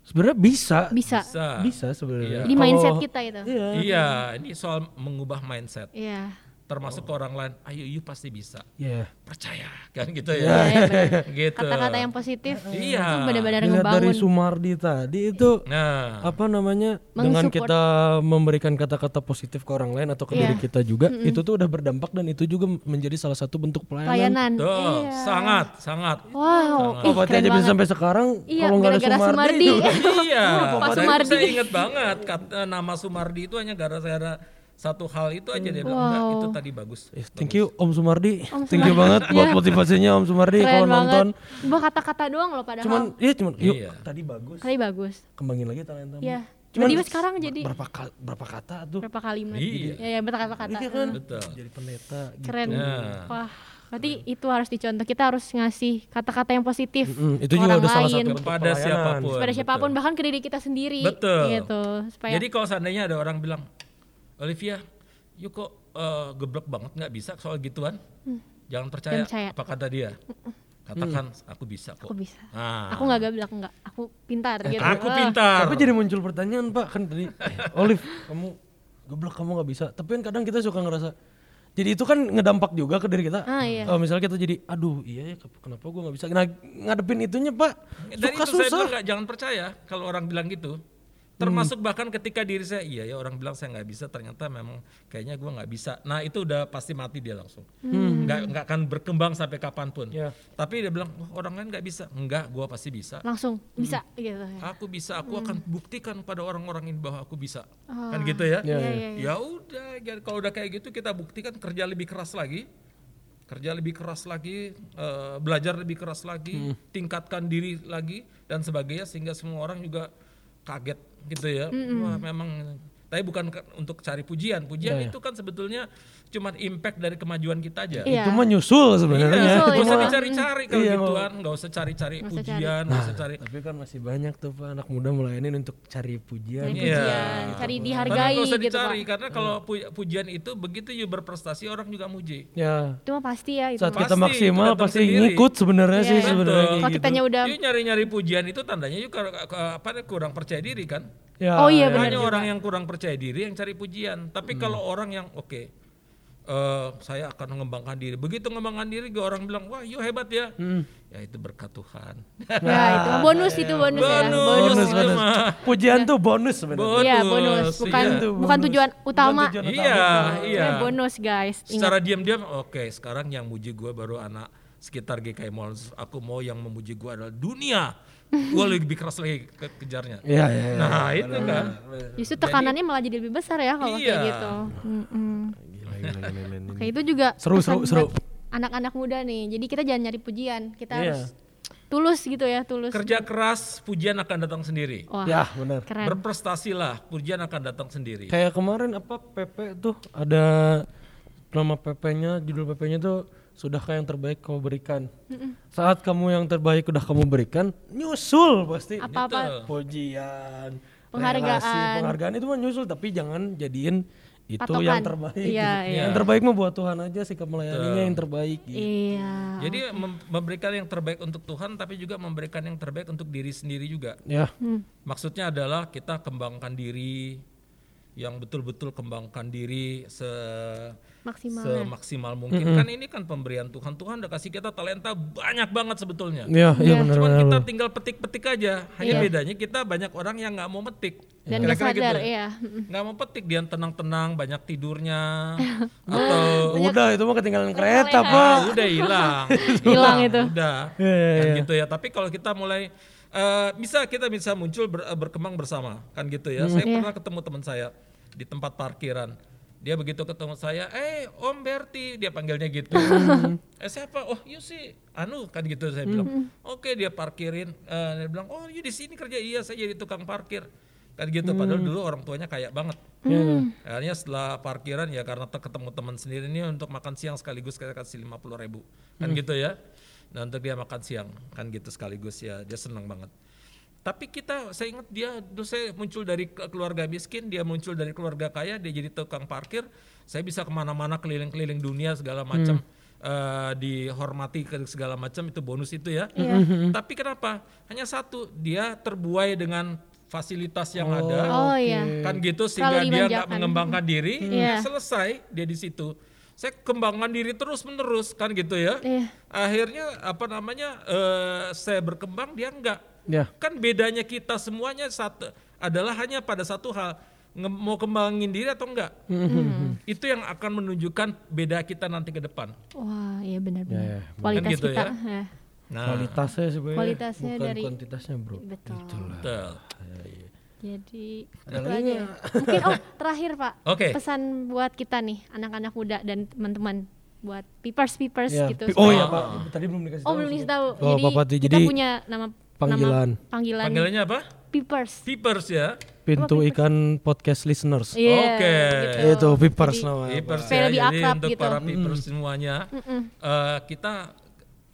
B: Sebenarnya bisa.
A: Bisa.
C: bisa
B: Bisa sebenarnya.
A: Di
B: Kalau-
A: mindset gitu. kita itu.
B: Iya.
C: iya ini soal mengubah mindset
A: Iya.
C: termasuk
B: Oh.
C: ke orang lain ayo you pasti bisa
B: Iya.
C: percaya kan gitu
A: Iya,
C: ya
A: iya, benar.
C: gitu
A: Kata-kata yang positif.
C: Iya.
A: Itu benar-benar
B: Dilihat dari
A: ngebangun.
B: Sumardi tadi itu
C: nah
B: apa namanya dengan
A: Mensupport.
B: kita memberikan kata-kata positif ke orang lain atau ke
A: Iya.
B: diri kita juga itu tuh udah berdampak dan itu juga menjadi salah satu bentuk pelayanan.
A: Pelayanan.
C: tuh
A: Iya.
C: sangat sangat
A: Wow.
B: Oh,
A: Ih,
B: berarti aja
A: keren
B: bisa
A: banget.
B: sampai sekarang
A: Iya,
B: kalau nggak ada
A: gara-gara
B: Sumardi.
A: Sumardi.
C: iya,
A: Pak
C: padahal
A: Sumardi.
C: saya ingat banget kata nama Sumardi itu hanya gara-gara satu hal itu aja dia bilang enggak itu tadi bagus.
A: Iya.
B: Eh, Thank you Om Sumardi. Thank you banget buat motivasinya Om Sumardi
A: Keren
B: kalau
A: banget. Iya.
B: nonton.
A: Gua kata-kata doang loh padahal.
B: Cuman iya cuman yuk
C: Iya.
B: tadi bagus.
A: kali bagus.
B: Kembangin lagi talentamu.
A: Iya.
B: Hmm. Cuman
A: Tiba-tiba sekarang jadi
B: berapa kal- berapa kata tuh
A: berapa kalimat.
C: Iya.
A: Iya, iya berapa kata-kata.
B: kan?
C: Betul.
B: jadi pendeta gitu.
A: Keren.
C: Nah.
A: Wah, berarti itu harus dicontoh. Kita harus ngasih kata-kata yang positif.
B: Mm, itu juga
A: orang
B: udah salah
A: lain.
B: satu bentuk
C: Kepada
B: pelayanan.
C: siapapun.
A: Pada
C: betul.
A: siapapun bahkan ke diri kita sendiri
C: Betul.
A: gitu. Supaya
C: Jadi kalau seandainya ada orang bilang, Olivia, you kok eh, geblek banget nggak bisa soal gituan, jangan percaya.
A: Hmm. Jangan percaya.
C: Apa kata dia? Katakan
A: Hmm.
C: aku bisa kok.
A: aku bisa.
C: Nah,
A: Aku nggak gablak enggak. Aku pintar gitu.
C: Eh, aku
A: Ah.
C: pintar.
B: Tapi jadi muncul pertanyaan pak kan tadi eh, Olive kamu goblok kamu nggak bisa. Tapi kan kadang kita suka ngerasa jadi itu kan ngedampak juga ke diri kita.
A: Ah, iya.
B: Eh, misalnya kita jadi aduh iya ya ke- kenapa gua nggak bisa. Nah, ngadepin itunya pak
C: Dari
B: suka
C: itu saya
B: susah.
C: bilang nggak jangan percaya kalau orang bilang gitu. termasuk
B: Hmm.
C: bahkan ketika diri saya iya ya orang bilang saya nggak bisa ternyata memang kayaknya gua nggak bisa nah itu udah pasti mati dia langsung nggak nggak akan berkembang sampai kapanpun
B: Hmm. Iya.
C: tapi dia bilang "Wah, orang lain nggak bisa enggak gua pasti bisa
A: langsung bisa gitu
B: Iya,
A: ya.
C: aku bisa aku akan buktikan pada orang-orang ini bahwa aku bisa kan gitu ya
A: Iya, iya, iya.
C: ya udah ya kalau udah kayak gitu kita buktikan kerja lebih keras lagi kerja lebih keras lagi eh, belajar lebih keras lagi
A: Hmm.
C: tingkatkan diri lagi dan sebagainya sehingga semua orang juga kaget gitu ya wah memang tapi bukan ke- untuk cari pujian
A: Iya,
C: pujian itu kan sebetulnya cuman impact dari kemajuan kita aja
A: Iya.
B: Itu mah nyusul sebenarnya.
C: Iya,
A: Betul,
C: nggak usah
A: iya.
C: dicari-cari kalau
B: Iya,
C: gituan, nggak usah cari-cari
A: Nggak usah cari. Nah.
C: pujian, nggak usah cari
B: Tapi kan masih banyak tuh Pak anak muda melayanin untuk cari pujian.
A: Cari
C: Iya.
A: pujian, cari
C: Karena
A: dihargai
C: nggak usah
A: gitu
C: dicari
A: Pak.
C: karena kalau pu- pujian itu begitu you berprestasi orang juga muji.
B: Ya.
A: Itu mah pasti ya itu.
B: Saat
A: mah.
C: Pasti,
B: kita maksimal
C: itu datang
B: pasti
C: sendiri.
B: ngikut sebenarnya
A: Iya,
B: sih
A: iya.
B: sebenarnya. gitu.
A: Kalau
B: kayak
A: kitanya udah
C: You nyari-nyari pujian itu tandanya you ke- ke- ke- apa kurang percaya diri kan?
B: gitu. Ya,
A: Oh iya,
B: ya.
A: benar.
C: Hanya orang yang kurang percaya diri yang cari
B: Hmm.
C: pujian. Tapi kalau orang yang oke eh, saya akan mengembangkan diri. Begitu mengembangkan diri, gue orang bilang, wah, you hebat ya.
B: Hmm.
C: Ya itu berkat Tuhan.
A: ya itu mah bonus itu bonus, ya.
C: Bonus,
B: Bonus,
C: itu
B: bonus.
C: mah.
B: Pujian tuh bonus sebenarnya.
A: Iya, bonus.
C: Bonus,
A: Bukan
B: iya.
A: bukan
B: Bonus.
A: tujuan
B: Bukan
A: utama.
B: tujuan utama.
C: Iya, iya.
A: Itu bonus guys. Ingat.
C: Secara diam-diam, oke sekarang yang muji gue baru anak sekitar GKI Mall. Aku mau yang memuji gue adalah dunia. gue lebih keras lagi ke kejarnya.
B: Iya, iya. iya.
C: Nah itu kan.
A: Justru tekanannya malah jadi lebih besar ya kalau kayak
C: Iya.
A: gitu. Mm-mm.
B: Gila, gila, gila, gila, ini.
A: Oke, itu juga
B: Seru,
A: pesan
B: seru, seru.
A: buat Anak-anak muda nih. Jadi kita jangan nyari pujian, kita
B: Iya.
A: harus tulus gitu ya, tulus.
C: Kerja keras, pujian akan datang sendiri.
A: Wah,
B: Ya, benar.
A: keren.
C: Berprestasilah, pujian akan datang sendiri.
B: Kayak kemarin apa PP tuh ada nama PP-nya, judul PP-nya tuh sudahkah yang terbaik kamu berikan. Saat kamu yang terbaik udah kamu berikan, nyusul pasti.
A: Apa-apa
B: Pujian,
A: Penghargaan.
B: relasi, penghargaan itu mah nyusul tapi jangan jadiin itu
A: Patokan.
B: yang terbaik.
A: Iya, iya.
B: Yang terbaik mah buat Tuhan aja sikap melayaninya yang terbaik. gitu.
A: Iya.
C: Jadi mem- memberikan yang terbaik untuk Tuhan, tapi juga memberikan yang terbaik untuk diri sendiri juga.
B: Ya.
A: Hmm.
C: Maksudnya adalah kita kembangkan diri, yang betul-betul kembangkan diri se
A: Maksimal.
C: semaksimal mungkin kan ini kan pemberian Tuhan Tuhan udah kasih kita talenta banyak banget sebetulnya
B: Iya, iya benar
C: cuman
B: benar.
C: kita
B: benar.
C: tinggal petik-petik aja hanya bedanya kita banyak orang yang nggak mau metik
A: Iya. Dan nggak
C: Kira-kira
A: sadar,
C: gitu.
A: iya.
C: nggak mau petik dia tenang-tenang banyak tidurnya atau
B: Udah itu mah ketinggalan kereta, Pak.
C: Ah, udah hilang
A: Hilang itu.
C: udah
B: Iya, iya,
C: kan gitu ya tapi kalau kita mulai eh, bisa kita bisa muncul ber- eh, berkembang bersama kan gitu
B: Hmm.
C: ya
B: Iya.
C: saya pernah ketemu teman saya di tempat parkiran dia begitu ketemu saya eh om Berti dia panggilnya gitu
B: Hmm.
C: eh siapa oh you sih anu kan gitu saya bilang oke dia parkirin Eh, dia bilang oh you di sini kerja iya saya jadi tukang parkir kan gitu
B: Hmm.
C: padahal dulu orang tuanya kaya banget
B: Iya,
C: Akhirnya setelah parkiran ya karena te- ketemu teman sendiri ini untuk makan siang sekaligus kita kasih lima puluh ribu kan
B: Hmm.
C: gitu ya. Nah untuk dia makan siang kan gitu sekaligus ya dia senang banget. Tapi kita saya ingat dia dulu saya muncul dari ke- keluarga miskin, dia muncul dari keluarga kaya, dia jadi tukang parkir. Saya bisa kemana-mana keliling-keliling dunia segala macam. eh, dihormati ke segala macam itu bonus itu ya.
A: Iya.
C: Tapi kenapa? Hanya satu, dia terbuai dengan fasilitas yang ada
A: Oh iya.
C: kan gitu sehingga
A: Terlalu
C: dia nggak
A: dimanjakan.
C: mengembangkan diri
A: Iya.
C: ya selesai dia di situ saya kembangkan diri terus menerus kan gitu ya
A: Iya.
C: akhirnya apa namanya eh, saya berkembang dia enggak
A: Iya.
B: Ya.
C: kan bedanya kita semuanya satu adalah hanya pada satu hal nge- mau kembangin diri atau enggak itu yang akan menunjukkan beda kita nanti ke depan
A: Wah, iya benar-benar.
B: Ya, ya,
A: Kualitas
C: Kan gitu
A: kita.
C: ya.
A: ya.
C: nah
B: Kualitasnya sebenarnya.
A: Kualitasnya
B: bukan
A: dari-
B: kuantitasnya, Bro.
A: Betul.
C: betul.
A: Jadi
B: Ada
A: itu
B: lagi
A: aja. ya. Mungkin oh terakhir Pak.
C: Oke.
A: Pesan buat kita nih anak-anak muda dan teman-teman buat peepers peepers
B: Ya.
A: gitu.
B: Oh iya, Pak. Tadi belum dikasih
A: Oh
B: tahu.
A: belum dikasih tahu.
B: Oh,
A: jadi
B: Bapak tuh,
A: kita
B: jadi
A: punya nama
B: panggilan.
A: Nama panggilan,
C: panggilannya apa
A: peepers.
C: peepers ya
B: Pintu ikan podcast listeners.
A: Iya,
C: Oke.
A: gitu.
B: Itu Vipers
A: Jadi- Iya.
B: namanya.
C: Vipers
A: Supaya
C: ya,
A: lebih
C: jadi
A: akrab
C: untuk
A: gitu.
C: para Vipers semuanya eh, kita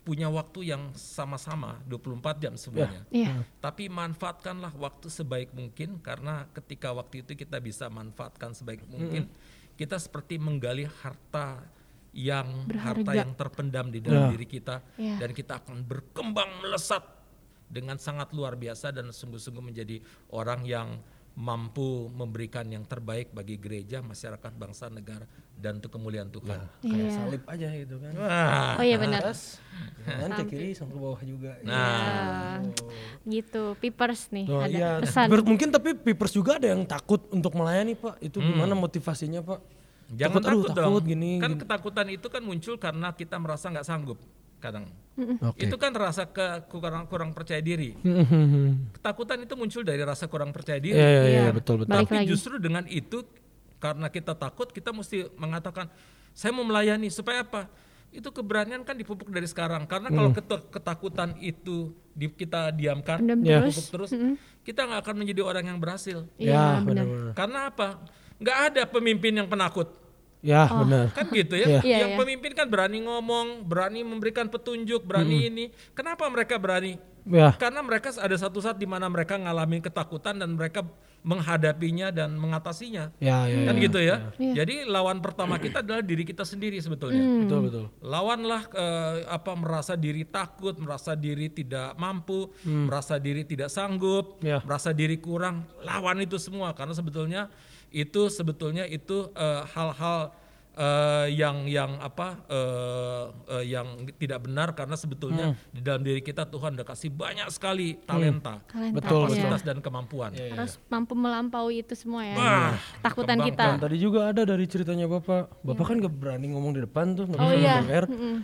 C: punya waktu yang sama-sama 24 jam semuanya.
A: Iya.
B: Hmm.
C: Tapi manfaatkanlah waktu sebaik mungkin karena ketika waktu itu kita bisa manfaatkan sebaik mungkin kita seperti menggali harta yang harta
A: Berharga.
C: yang terpendam di dalam diri kita
A: Iya.
C: dan kita akan berkembang melesat dengan sangat luar biasa dan sungguh-sungguh menjadi orang yang mampu memberikan yang terbaik bagi gereja, masyarakat, bangsa, negara dan untuk kemuliaan Tuhan.
B: kayak
A: Iya.
B: salib aja gitu kan
C: Wah.
A: Oh iya benar.
B: atas dan ke kiri sampai ke bawah juga Iya.
A: Nah, gitu. Pipers nih
B: Oh,
A: ada
B: iya.
A: pesan.
B: Ber- mungkin tapi pipers juga ada yang takut untuk melayani pak itu gimana motivasinya pak
C: Jangan takut,
B: aduh,
C: dong.
B: Hmm. takut gini,
C: kan
B: gini.
C: ketakutan itu kan muncul karena kita merasa nggak sanggup kadang.
B: Oke.
C: Itu kan rasa ke kurang kurang percaya diri. Ketakutan itu muncul dari rasa kurang percaya diri.
B: Iya, iya,
A: Iya.
B: iya, betul betul.
A: Balik
C: Tapi
A: lagi.
C: justru dengan itu karena kita takut kita mesti mengatakan saya mau melayani supaya apa? Itu keberanian kan dipupuk dari sekarang. Karena kalau keter- ketakutan itu di, kita diamkan,
A: Pendem
B: Iya.
A: terus.
C: pupuk terus, kita nggak akan menjadi orang yang berhasil.
B: Ya,
A: Iya, benar.
B: benar.
C: Karena apa? Nggak ada pemimpin yang penakut.
B: Ya,
A: Oh.
B: benar.
C: Kan gitu ya.
A: Iya,
C: yang
A: iya.
C: pemimpin kan berani ngomong, berani memberikan petunjuk, berani ini. Kenapa mereka berani?
B: Ya.
C: Karena mereka ada satu saat di mana mereka ngalamin ketakutan dan mereka menghadapinya dan mengatasinya.
B: Ya, ya.
C: Kan
B: ya.
C: gitu ya.
A: Iya.
C: Jadi lawan pertama kita adalah diri kita sendiri
A: Mm.
C: sebetulnya.
A: Hmm.
B: Betul betul.
C: Lawanlah eh, apa merasa diri takut, merasa diri tidak mampu, merasa diri tidak sanggup,
B: Ya.
C: merasa diri kurang. Lawan itu semua karena sebetulnya itu sebetulnya itu eh, hal-hal eh, yang yang apa eh, eh, yang tidak benar karena sebetulnya di dalam diri kita Tuhan udah kasih banyak sekali talenta,
A: Kalian
B: Betul,
A: tahu ya.
C: kapasitas dan kemampuan.
A: Harus mampu melampaui itu semua ya.
C: Wah,
A: Ketakutan kita.
B: Dan Kan tadi juga ada dari ceritanya Bapak. Bapak kan gak berani ngomong di depan tuh, nggak
A: Oh
B: bisa
A: iya.
B: ngomong R.
A: Mm-mm.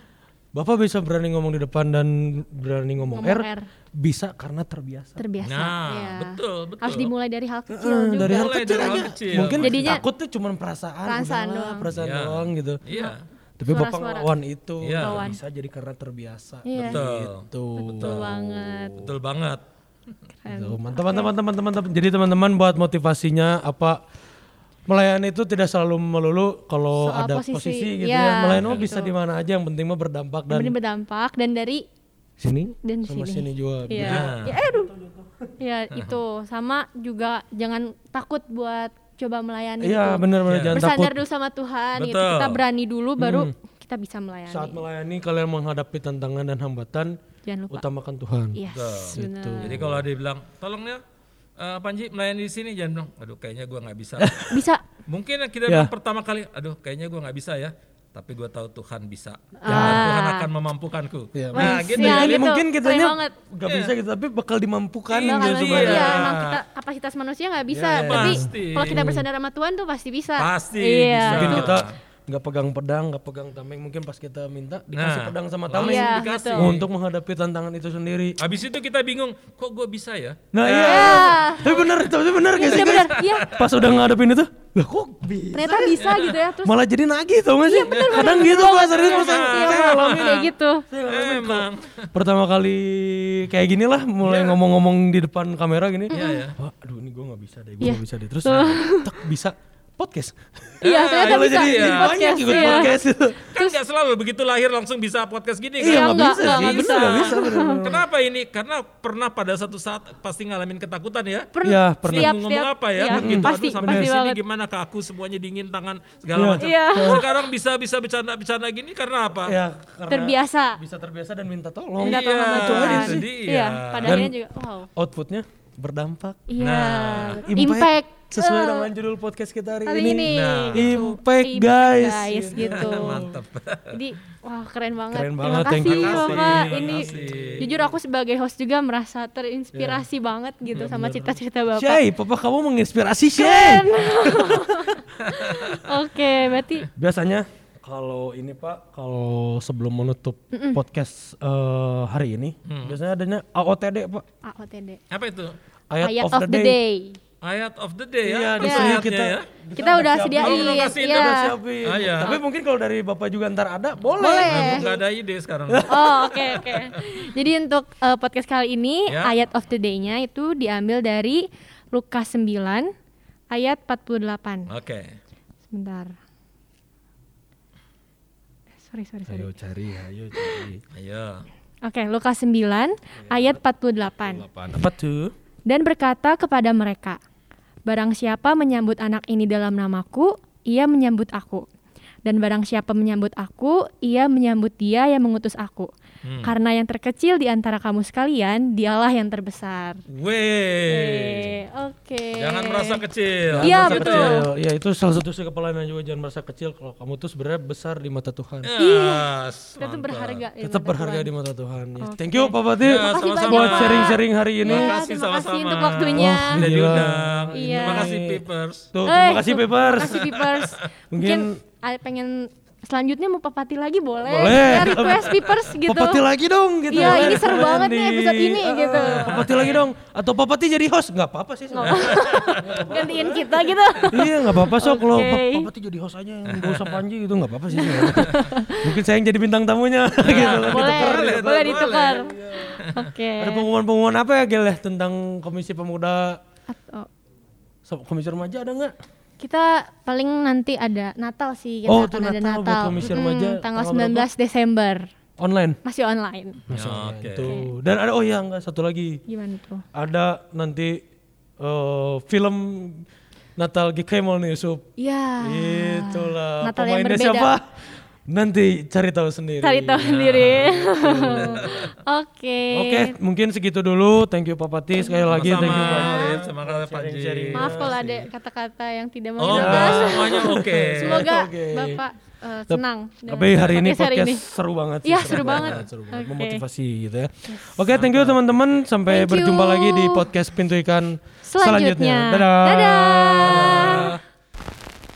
B: Bapak bisa berani ngomong di depan dan berani ngomong,
A: Ngomong R.
B: R, bisa karena terbiasa.
A: Terbiasa.
C: Nah,
A: ya.
C: betul, betul.
A: Harus dimulai dari hal kecil
B: Eh,
A: juga.
B: dari hal
C: Mulai
B: kecil
C: dari hal
B: aja.
C: kecil.
B: Mungkin
A: Jadinya-
B: takut tuh cuman perasaan,
A: Perasaan
B: udahlah,
A: doang.
B: perasaan
C: Iya.
B: doang gitu.
C: Iya.
B: Tapi Bapak
A: Suara-suara.
B: ngelawan itu
C: Iya.
A: Lawan.
B: bisa jadi karena terbiasa.
A: Iya.
C: Betul.
B: Tuh.
A: Betul banget.
C: Betul banget.
A: Keren.
B: Tuh, mantap, mantap, mantap, mantap, mantap. Jadi Gitu. teman-teman buat motivasinya apa melayani itu tidak selalu melulu kalau
A: Soal
B: ada
A: posisi,
B: posisi, gitu
A: iya,
B: ya. Melayani mah bisa di mana aja yang penting mah berdampak dan
A: Benar berdampak dan dari
B: sini
A: dan
B: sama
A: sini.
B: sini juga.
A: Iya.
C: Nah.
A: Ya, aduh. Ya itu sama juga jangan takut buat coba melayani.
B: Iya,
A: gitu.
B: benar-benar
C: Iya.
B: jangan
A: Bersandar
B: takut. Hmm.
A: dulu sama Tuhan gitu.
C: Betul.
A: Kita berani dulu baru kita bisa melayani.
B: Saat melayani kalian menghadapi tantangan dan hambatan,
A: Jangan lupa. Iya,
B: utamakan Tuhan. Gitu.
A: Yes, benar.
C: Jadi kalau ada yang bilang, tolong ya eh, Panji melayani di sini jangan bilang, aduh kayaknya gua nggak bisa.
A: Bisa.
C: Mungkin yang kita
B: Ya.
C: bilang pertama kali, aduh kayaknya gua nggak bisa ya. Tapi gua tahu Tuhan bisa.
A: Ah.
C: Tuhan akan memampukan-ku.
B: Iya,
C: nah
A: Wes,
C: gitu
A: ya,
C: ya.
B: Jadi
A: gitu.
B: mungkin kitanya
A: Keren banget.
B: gak bisa gitu tapi bakal dimampukan gitu
C: Iya,
A: Bahkan
C: Iya.
A: manusia,
B: supaya
C: Iya.
A: emang kita kapasitas manusia nggak bisa,
B: Iya.
A: tapi
C: Pasti.
A: kalau kita bersandar sama Tuhan tuh pasti bisa.
C: Pasti
A: Iya.
C: bisa.
B: mungkin
C: Nah.
B: kita nggak pegang pedang, nggak pegang tameng, mungkin pas kita minta dikasih pedang sama
C: langsung
B: tameng
A: Iya,
C: Nah. dikasih.
A: betul.
B: untuk menghadapi tantangan itu sendiri.
C: Habis itu kita bingung, kok gua bisa ya?
B: Nah iya, tapi bener, tapi bener gak
A: Ah.
B: sih
A: Iya, benar.
B: guys?
A: Iya.
B: Pas udah ngadepin itu, lah kok bi-
A: Ternyata bisa gitu ya. Terus
B: malah jadi nagih tau gak sih? Kadang gitu pak, serius Pak, saya,
A: iya,
B: saya ngalamin.
A: kayak gitu.
B: Saya ngalamin kok.
C: Emang.
B: Pertama kali kayak gini lah,
A: Iya.
B: mulai ngomong-ngomong di depan kamera gini.
C: Iya, iya.
B: Wah, aduh ini gue gak bisa deh, gue nggak bisa deh. Terus tek, bisa podcast.
A: Iya, ternyata
B: Kalau
A: bisa.
B: jadi
A: bikin
B: banyak
A: podcast,
B: ikut
A: iya.
B: podcast.
C: Kan nggak selalu begitu lahir langsung bisa podcast gini kan?
B: Iya nggak
A: nggak,
B: bisa
A: nggak,
B: sih,
A: nggak
B: bener,
A: bisa.
B: nggak bisa bener.
C: Kenapa ini? Karena pernah pada satu saat pasti ngalamin ketakutan ya.
A: Pernah.
B: Iya,
A: Setiap-
B: pernah.
C: Setiap, ngomong
A: setiap-
C: apa ya?
A: iya,
C: Begitu,
A: Pasti,
C: aduh, sampai
A: pasti
C: di sini
A: banget.
C: gimana ke aku semuanya dingin tangan segala
B: Iya.
C: macam.
A: Iya.
C: Sekarang bisa bisa bercanda-bercanda gini karena apa?
B: Ya, karena
A: Terbiasa.
B: Iya, Bisa terbiasa dan minta tolong.
A: Minta tolong sama
C: Iya,
A: Tuhan.
C: itu dia.
A: Iya, pada
B: Dan-
A: akhirnya juga wow.
B: Outputnya berdampak.
A: Iya. betul.
B: Impact,
A: Impact.
B: sesuai
A: Eh,
B: dengan judul podcast kita hari,
A: hari
B: ini.
A: ini.
C: Nah.
A: gitu.
B: Impact, guys.
A: Guys gitu.
C: Mantap.
A: Jadi wah keren banget.
B: Keren
A: Terima
B: banget, thank
A: kasih
B: you.
A: Bapak.
C: Terima
A: Ini
C: kasih.
A: jujur aku sebagai host juga merasa
B: Iya.
A: terinspirasi banget gitu
C: Iya,
A: sama cerita-cerita Bapak.
B: Shay, papa kamu menginspirasi
A: Keren.
B: Shay.
A: Oke, berarti
B: Biasanya kalau ini Pak, kalau sebelum menutup podcast eh, hari ini, biasanya adanya AOTD Pak,
A: AOTD.
C: Apa itu?
B: ayat,
A: Ayat of the day.
C: Ayat of the day
B: Iya,
C: ya.
B: di
C: Apa
B: sini
C: ayatnya
B: kita
C: ya?
A: Kita Eh. udah sediain.
C: Oh, udah kasih, udah
A: iya.
B: Udah siapin.
C: Ah, iya.
B: Tapi mungkin kalau dari Bapak juga ntar ada, boleh.
A: Boleh.
C: Nah, gua nggak ada ide sekarang.
A: Oh, oke oke. Jadi untuk eh, podcast kali ini
C: Ya.
A: ayat of the day-nya itu diambil dari Lukas 9 ayat 48.
C: Oke.
A: Sebentar. Eh, Sorry, sorry, sorry.
B: Ayo cari, ayo cari.
C: Ayo.
A: Oke, Lukas 9 ayat 48.
B: Apaan? Apa tuh?
A: Dan berkata kepada mereka, Barang siapa menyambut anak ini dalam namaku, ia menyambut aku. Dan barang siapa menyambut aku, ia menyambut dia yang mengutus aku.
C: Hmm.
A: karena yang terkecil di antara kamu sekalian dialah yang terbesar. Eh,
C: Weh.
A: Oke.
C: Jangan merasa kecil.
A: Iya
B: Merasa
A: betul.
B: kecil. Ya itu salah satu sih kepelainan juga jangan merasa kecil kalau kamu tuh sebenarnya besar di mata Tuhan.
C: Yes,
A: Kita tuh
C: mantap.
A: berharga. Iya, di
B: Tetap
A: mata
B: berharga
A: Tuhan.
B: di mata Tuhan. Ya, Thank you Pak Pati
C: Ya, sama-sama.
B: buat sharing-sharing hari ini.
A: Ya,
C: Terima kasih
A: terima kasih
C: sama-sama. Oh,
A: untuk waktunya.
B: Wah,
C: Sudah
B: Gila.
C: diundang.
A: Iya.
C: Terima kasih Peepers.
B: Iya. Tuh,
A: Eh,
B: terima
A: tuh,
B: kasih
A: Eh,
B: Peepers.
A: Terima kasih Pipers. Mungkin
B: Mungkin-
A: ada pengen selanjutnya mau papati lagi boleh.
B: Boleh.
A: Ya, request Pipers gitu.
B: Papati lagi dong gitu.
A: Iya,
B: ya.
A: ini seru banget nih episode ini,
B: Ah,
A: gitu.
B: Papati lagi dong atau Papati jadi host nggak apa-apa sih.
A: Nggak apa-apa. Gantiin kita gitu.
B: iya nggak apa-apa sok kalau
A: Oke.
B: Pak Papati jadi host aja nggak usah Panji gitu nggak apa-apa sih. sebenarnya. Mungkin saya yang jadi bintang tamunya gitu.
A: boleh, boleh,
C: boleh.
A: ditukar. Oke.
B: Ada pengumuman-pengumuman apa ya Gel ya tentang Komisi Pemuda
A: Atau
B: so- Komisi Remaja ada nggak?
A: oh. kita paling nanti ada Natal sih kita
B: Oh,
A: akan
B: tuh
A: ada
B: Natal buat
A: Natal.
B: komisi
A: Mm-mm,
B: remaja.
A: tanggal
B: Tanggal
A: 19
B: berapa?
A: Desember.
B: Online.
A: Masih online.
C: Ya, Oke.
B: Tuh. Dan ada oh iya nggak satu lagi
A: Gimana tuh?
B: ada nanti eh, film Natal Gikemol nih Yusuf.
A: Ya.
B: Itulah
A: Natal yang
B: pemainnya
A: berbeda.
B: siapa? Nanti cari tahu sendiri.
A: Cari tahu sendiri. Oke.
B: Oke, mungkin segitu dulu. Thank you Papati sekali lagi.
C: Sama-sama,
B: Thank you banyak.
C: Alif. Terima kasih Panji.
A: Maaf kalau ada kata-kata yang tidak
C: Oh,
A: mengenakan.
C: semuanya oke.
A: Iya. Semoga
B: Oke.
A: Bapak eh,
B: Tep-
A: senang. dengan
B: Tapi hari ini podcast
A: ini.
B: seru banget. sih,
A: Iya, seru banget.
B: seru banget.
A: Oke.
B: Memotivasi gitu ya. Oke, thank you teman-teman. Sampai
A: Thank
B: berjumpa
A: you.
B: lagi di podcast Pintu Ikan
A: Selanjutnya.
B: selanjutnya. Dadah.
A: Dadah.